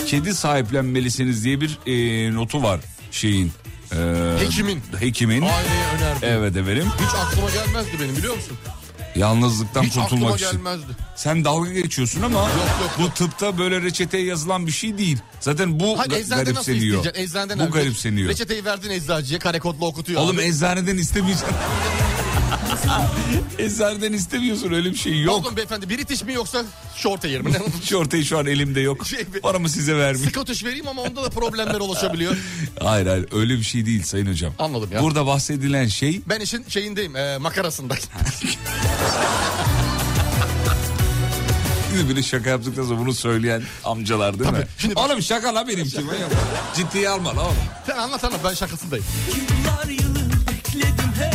Speaker 5: Kedi sahiplenmelisiniz diye bir e, notu var şeyin. e,
Speaker 6: Hekimin.
Speaker 5: Hekimin.
Speaker 6: Aileye önerdi.
Speaker 5: Evet efendim.
Speaker 6: Hiç aklıma gelmezdi benim biliyor musun?
Speaker 5: Yalnızlıktan
Speaker 6: Hiç aklıma
Speaker 5: kurtulmak için.
Speaker 6: gelmezdi.
Speaker 5: Sen dalga geçiyorsun ama bu tıpta böyle reçeteye yazılan bir şey değil. Zaten bu
Speaker 6: Hayır,
Speaker 5: ga-
Speaker 6: eczanede nasıl
Speaker 5: garipseniyor.
Speaker 6: isteyeceksin? Eczaneden
Speaker 5: bu
Speaker 6: abi.
Speaker 5: garipseniyor.
Speaker 6: Reçeteyi verdin eczacıya kare kodla okutuyor.
Speaker 5: Oğlum
Speaker 6: abi.
Speaker 5: eczaneden istemeyeceksin. eczaneden istemiyorsun öyle bir şey yok.
Speaker 6: Pardon beyefendi British mi yoksa Shorthair mi?
Speaker 5: Şu ortayı şu an elimde yok.
Speaker 6: Şey
Speaker 5: Paramı size vermeyeyim.
Speaker 6: Scottish vereyim ama onda da problemler ulaşabiliyor.
Speaker 5: Hayır hayır öyle bir şey değil sayın hocam.
Speaker 6: Anladım ya.
Speaker 5: Burada bahsedilen şey
Speaker 6: Ben işin şeyindeyim e, makarasında.
Speaker 5: bir şaka yaptıktan sonra bunu söyleyen amcalar değil mi? Oğlum şaka la benimki. Ciddiye alma la oğlum.
Speaker 6: Sen anlat anlat ben şakasındayım.
Speaker 4: Yıllar yılı bekledim hep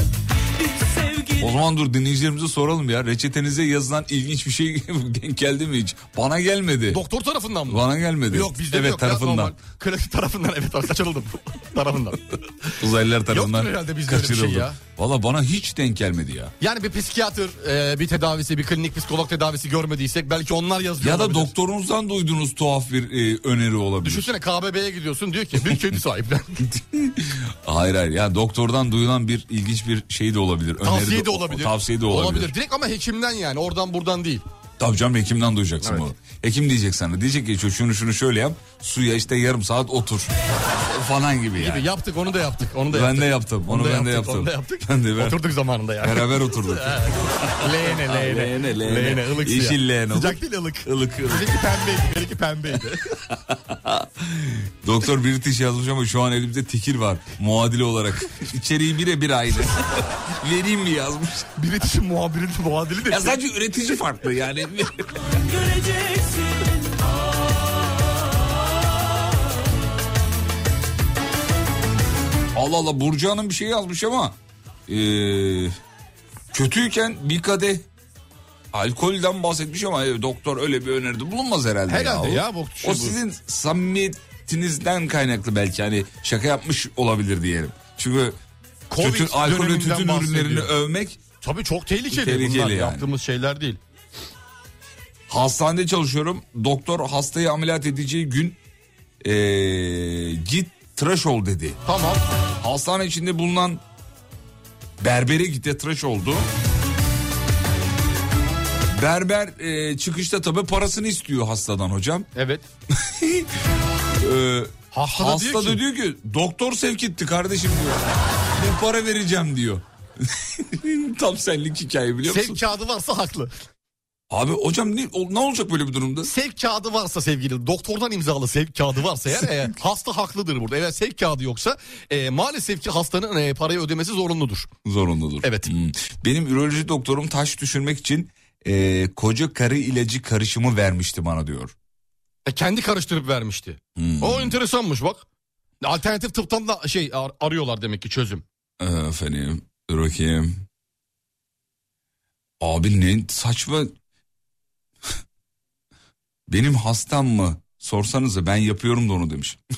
Speaker 4: bir sevgili
Speaker 5: O zaman dur dinleyicilerimize soralım ya. Reçetenize yazılan ilginç bir şey denk geldi mi hiç? Bana gelmedi.
Speaker 6: Doktor tarafından mı?
Speaker 5: Bana gelmedi.
Speaker 6: Yok bizde de
Speaker 5: evet,
Speaker 6: yok. ya,
Speaker 5: tarafından.
Speaker 6: normal. Klasik tarafından evet abi kaçırıldım. tarafından.
Speaker 5: Uzaylılar tarafından
Speaker 6: Yoktur herhalde bizde öyle bir şey
Speaker 5: kaçırıldı.
Speaker 6: ya.
Speaker 5: Valla bana hiç denk gelmedi ya.
Speaker 6: Yani bir psikiyatr e, bir tedavisi bir klinik psikolog tedavisi görmediysek belki onlar yazıyor.
Speaker 5: Ya da
Speaker 6: olabilir.
Speaker 5: doktorunuzdan duyduğunuz tuhaf bir e, öneri olabilir.
Speaker 6: Düşünsene KBB'ye gidiyorsun diyor ki bir kedi sahiplen.
Speaker 5: Hayır hayır ya doktordan duyulan bir ilginç bir şey de olabilir. Öneri
Speaker 6: Tavsiye de olabilir.
Speaker 5: Tavsiye de olabilir.
Speaker 6: Direkt ama hekimden yani oradan buradan değil.
Speaker 5: Tabii canım hekimden duyacaksın bunu. Hekim diyecek sana. Diyecek ki "Şu- şunu şunu şöyle yap. Suya işte yarım saat otur. Falan gibi yani.
Speaker 6: Gibi yaptık onu da yaptık. Onu da
Speaker 5: Ben
Speaker 6: yaptık.
Speaker 5: de yaptım, onu ben de yaptım.
Speaker 6: Onu da yaptık.
Speaker 5: Ben de ben-
Speaker 6: Oturduk zamanında yani.
Speaker 5: Beraber oturduk.
Speaker 6: leğene leğene.
Speaker 5: Leğene, leğene.
Speaker 6: ılık
Speaker 5: Yeşil
Speaker 6: siyah.
Speaker 5: leğene.
Speaker 6: Sıcak değil ılık.
Speaker 5: Ilık, ılık.
Speaker 6: Benimki pembeydi. Benimki pembeydi.
Speaker 5: Doktor British yazmış ama şu an elimde tekir var. Muadili olarak. İçeriği birebir aynı. Vereyim mi yazmış.
Speaker 6: British'in muhabirinin muadili de.
Speaker 5: Ya sadece üretici farklı yani.
Speaker 4: göreceksin.
Speaker 5: Allah Allah Burcu Hanım bir şey yazmış ama e, kötüyken bir kadeh alkolden bahsetmiş ama e, doktor öyle bir öneride bulunmaz herhalde.
Speaker 6: Herhalde ya, bu-
Speaker 5: o sizin samimiyetinizden kaynaklı belki hani şaka yapmış olabilir diyelim. Çünkü
Speaker 6: Covid
Speaker 5: tütün, alkol ve
Speaker 6: döneminden
Speaker 5: tütün ürünlerini
Speaker 6: bahsediyor.
Speaker 5: övmek
Speaker 6: Tabii çok tehlikeli.
Speaker 5: Tehlikeli
Speaker 6: Bunlar
Speaker 5: yani.
Speaker 6: yaptığımız şeyler değil.
Speaker 5: Hastanede çalışıyorum. Doktor hastayı ameliyat edeceği gün eee, git tıraş ol dedi.
Speaker 6: Tamam.
Speaker 5: Hastane içinde bulunan berbere git de tıraş oldu. Berber eee, çıkışta tabii parasını istiyor hastadan hocam. E,
Speaker 6: Evet.
Speaker 5: hasta
Speaker 6: da
Speaker 5: da, diyor,
Speaker 6: diyor
Speaker 5: ki, doktor sevk etti kardeşim diyor. Ne para vereceğim diyor. Tam senlik hikaye biliyor musun?
Speaker 6: Sevk kağıdı varsa haklı.
Speaker 5: Abi hocam ne, o- ne olacak böyle bir durumda?
Speaker 6: Sevk kağıdı varsa sevgili doktordan imzalı sevk kağıdı varsa eğer e, hasta haklıdır burada. Eğer sevk kağıdı yoksa e, maalesef ki hastanın e, parayı ödemesi zorunludur.
Speaker 5: Zorunludur. Evet.
Speaker 6: Hmm.
Speaker 5: Benim üroloji doktorum taş düşürmek için e, koca karı ilacı karışımı vermişti bana diyor.
Speaker 6: E, kendi karıştırıp vermişti. O enteresanmış bak. Alternatif tıptan da şey ar- arıyorlar demek ki çözüm.
Speaker 5: Ee, Efendim dur bakayım. Abi ne saçma. Benim hastam mı? Sorsanıza ben yapıyorum da onu demiş.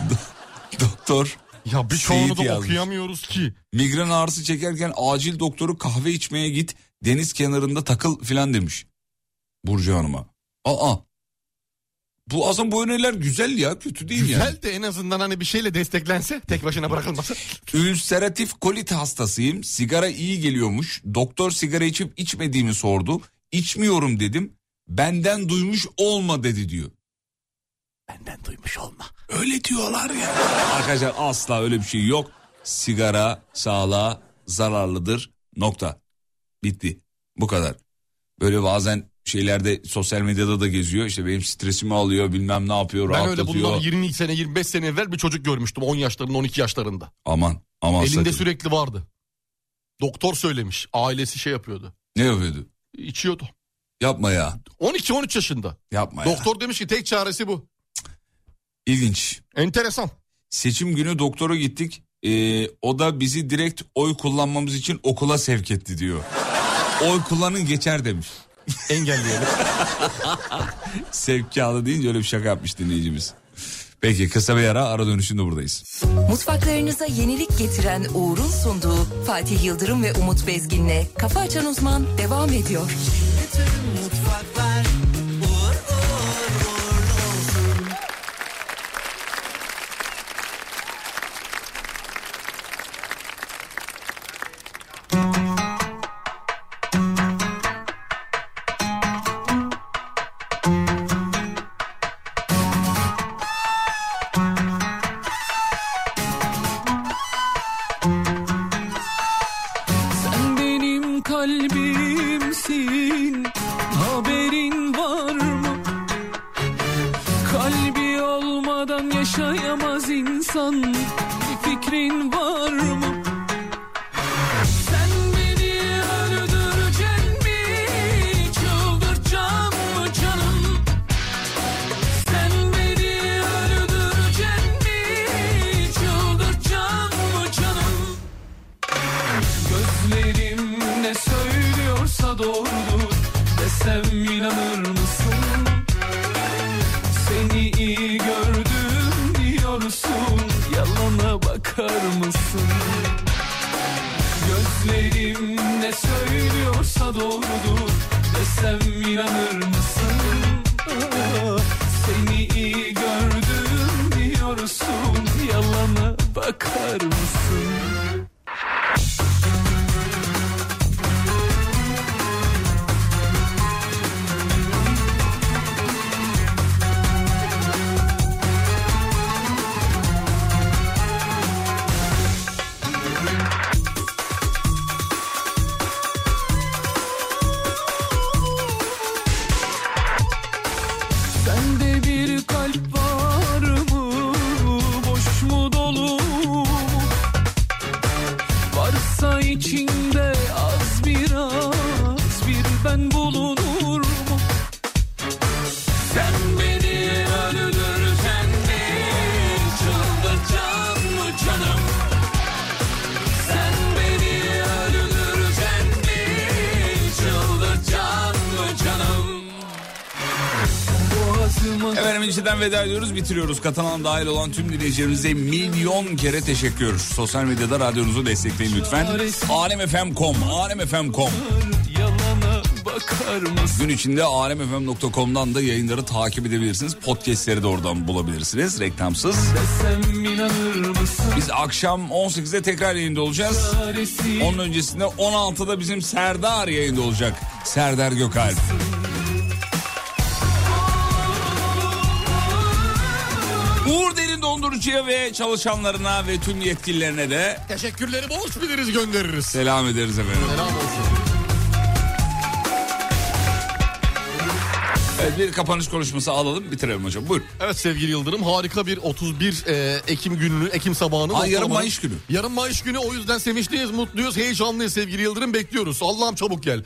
Speaker 5: Do- Doktor.
Speaker 6: Ya
Speaker 5: Seyit
Speaker 6: birçoğunu da
Speaker 5: yazmış.
Speaker 6: okuyamıyoruz ki.
Speaker 5: Migren ağrısı çekerken acil doktoru kahve içmeye git deniz kenarında takıl filan demiş. Burcu Hanım'a. Aa. Bu aslında bu öneriler güzel ya kötü değil
Speaker 6: Güzel
Speaker 5: yani.
Speaker 6: de en azından hani bir şeyle desteklense tek başına bırakılmasa.
Speaker 5: Ülseratif kolit hastasıyım. Sigara iyi geliyormuş. Doktor sigara içip içmediğimi sordu. İçmiyorum dedim. Benden duymuş olma dedi diyor.
Speaker 6: Benden duymuş olma.
Speaker 5: Öyle diyorlar ya. Arkadaşlar asla öyle bir şey yok. Sigara sağlığa zararlıdır. Nokta. Bitti. Bu kadar. Böyle bazen şeylerde sosyal medyada da geziyor. İşte benim stresimi alıyor bilmem ne yapıyor
Speaker 6: Ben öyle
Speaker 5: rahatlatıyor.
Speaker 6: bundan 20 sene 25 sene evvel bir çocuk görmüştüm 10 yaşlarında 12 yaşlarında.
Speaker 5: Aman aman
Speaker 6: Elinde
Speaker 5: sakın.
Speaker 6: sürekli vardı. Doktor söylemiş ailesi şey yapıyordu.
Speaker 5: Ne yapıyordu?
Speaker 6: İçiyordu.
Speaker 5: Yapma ya.
Speaker 6: 12-13 yaşında.
Speaker 5: Yapma ya.
Speaker 6: Doktor demiş ki tek çaresi bu.
Speaker 5: İlginç.
Speaker 6: Enteresan.
Speaker 5: Seçim günü doktora gittik. Ee, o da bizi direkt oy kullanmamız için okula sevk etti diyor. oy kullanın geçer demiş.
Speaker 6: Engelleyelim.
Speaker 5: sevk kağıdı deyince öyle bir şaka yapmış dinleyicimiz. Peki kısa bir ara ara dönüşünde buradayız.
Speaker 1: Mutfaklarınıza yenilik getiren Uğur'un sunduğu Fatih Yıldırım ve Umut Bezgin'le Kafa Açan Uzman devam ediyor.
Speaker 8: Mutfaklar uğur uğur uğurlu olsun.
Speaker 4: Sen benim kalbimsin Haberin var mı? Kalbi olmadan yaşayamaz insan Bir fikrin var mı? Sen beni öldürecek mi? Çıldırtacak mı canım? Sen beni öldürecek mi? Çıldırtacak mı canım? Gözlerim ne söylüyorsa doğrudur Desem inanır mısın? Seni iyi gördüm diyorsun Yalana bakar mısın? Gözlerim ne söylüyorsa doğrudur Desem inanır mısın? Ah, Seni iyi gördüm diyorsun Yalana bakar mısın? Sende bir kalp var mı? Boş mu dolu mu? Varsa içinde az biraz bir ben bulunur mu? Sen beni öldürsen mi? Çıldırtacak mı canım? Sen beni öldürsen mi? Çıldırtacak mı canım?
Speaker 5: Efendim inciden veda ediyoruz bitiriyoruz. Katılan dahil olan tüm dinleyicilerimize milyon kere teşekkür. Sosyal medyada radyonuzu destekleyin lütfen. alemfm.com alemfm.com
Speaker 4: Yalana bakar mısın?
Speaker 5: Gün içinde alemfm.com'dan da yayınları takip edebilirsiniz. Podcast'leri de oradan bulabilirsiniz reklamsız.
Speaker 4: Desem inanır mısın?
Speaker 5: Biz akşam 18'de tekrar yayında olacağız. Onun öncesinde 16'da bizim Serdar yayında olacak. Serdar Gökalp. Uğur Derin Dondurucu'ya ve çalışanlarına ve tüm yetkililerine de
Speaker 6: Teşekkürleri borç biliriz göndeririz.
Speaker 5: selam ederiz efendim. Evet, bir kapanış konuşması alalım bitirelim hocam buyur.
Speaker 6: Evet sevgili Yıldırım harika bir 31 e, Ekim gününü, Ekim sabahını.
Speaker 5: Ay, yarın
Speaker 6: ortalamanın-
Speaker 5: Mayıs günü.
Speaker 6: Yarın Mayıs günü o yüzden sevinçliyiz, mutluyuz, heyecanlıyız sevgili Yıldırım bekliyoruz. Allah'ım çabuk gel.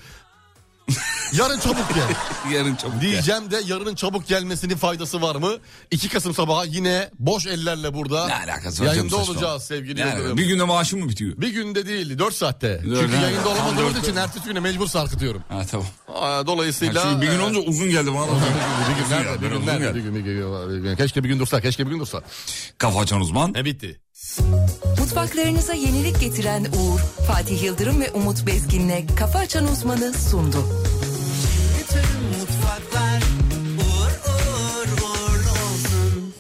Speaker 6: yarın çabuk gel.
Speaker 5: yarın çabuk
Speaker 6: Diyeceğim de yarının çabuk gelmesinin faydası var mı? 2 Kasım sabahı yine boş ellerle burada.
Speaker 5: Ne alakası var canım,
Speaker 6: Yayında
Speaker 5: saçmalama.
Speaker 6: olacağız sevgili
Speaker 5: Ne alakası-
Speaker 6: Yıldırım.
Speaker 5: Bir günde maaşım mı bitiyor?
Speaker 6: Bir günde değil 4 saatte.
Speaker 5: Dört-
Speaker 6: Çünkü
Speaker 5: ha,
Speaker 6: yayında
Speaker 5: tam
Speaker 6: olamadığımız
Speaker 5: dört-
Speaker 6: için ertesi güne mecbur sarkıtıyorum.
Speaker 5: Ha tamam.
Speaker 6: Aa, Dolayısıyla...
Speaker 5: Ha, çünkü bir gün
Speaker 6: e,
Speaker 5: olunca uzun geldi bana.
Speaker 6: bir gün
Speaker 5: Uzun
Speaker 6: nerede?
Speaker 5: geldi,
Speaker 6: Bir
Speaker 5: uzun
Speaker 6: gün nerede?
Speaker 5: geldi.
Speaker 6: Bir gün, bir gün, bir gün. Keşke bir gün dursa, keşke bir gün dursa.
Speaker 5: Kafa açan uzman.
Speaker 6: Ne bitti?
Speaker 1: Mutfaklarınıza yenilik getiren Uğur, Fatih Yıldırım ve Umut Bezgin'le Kafa Açan Uzman'ı sundu.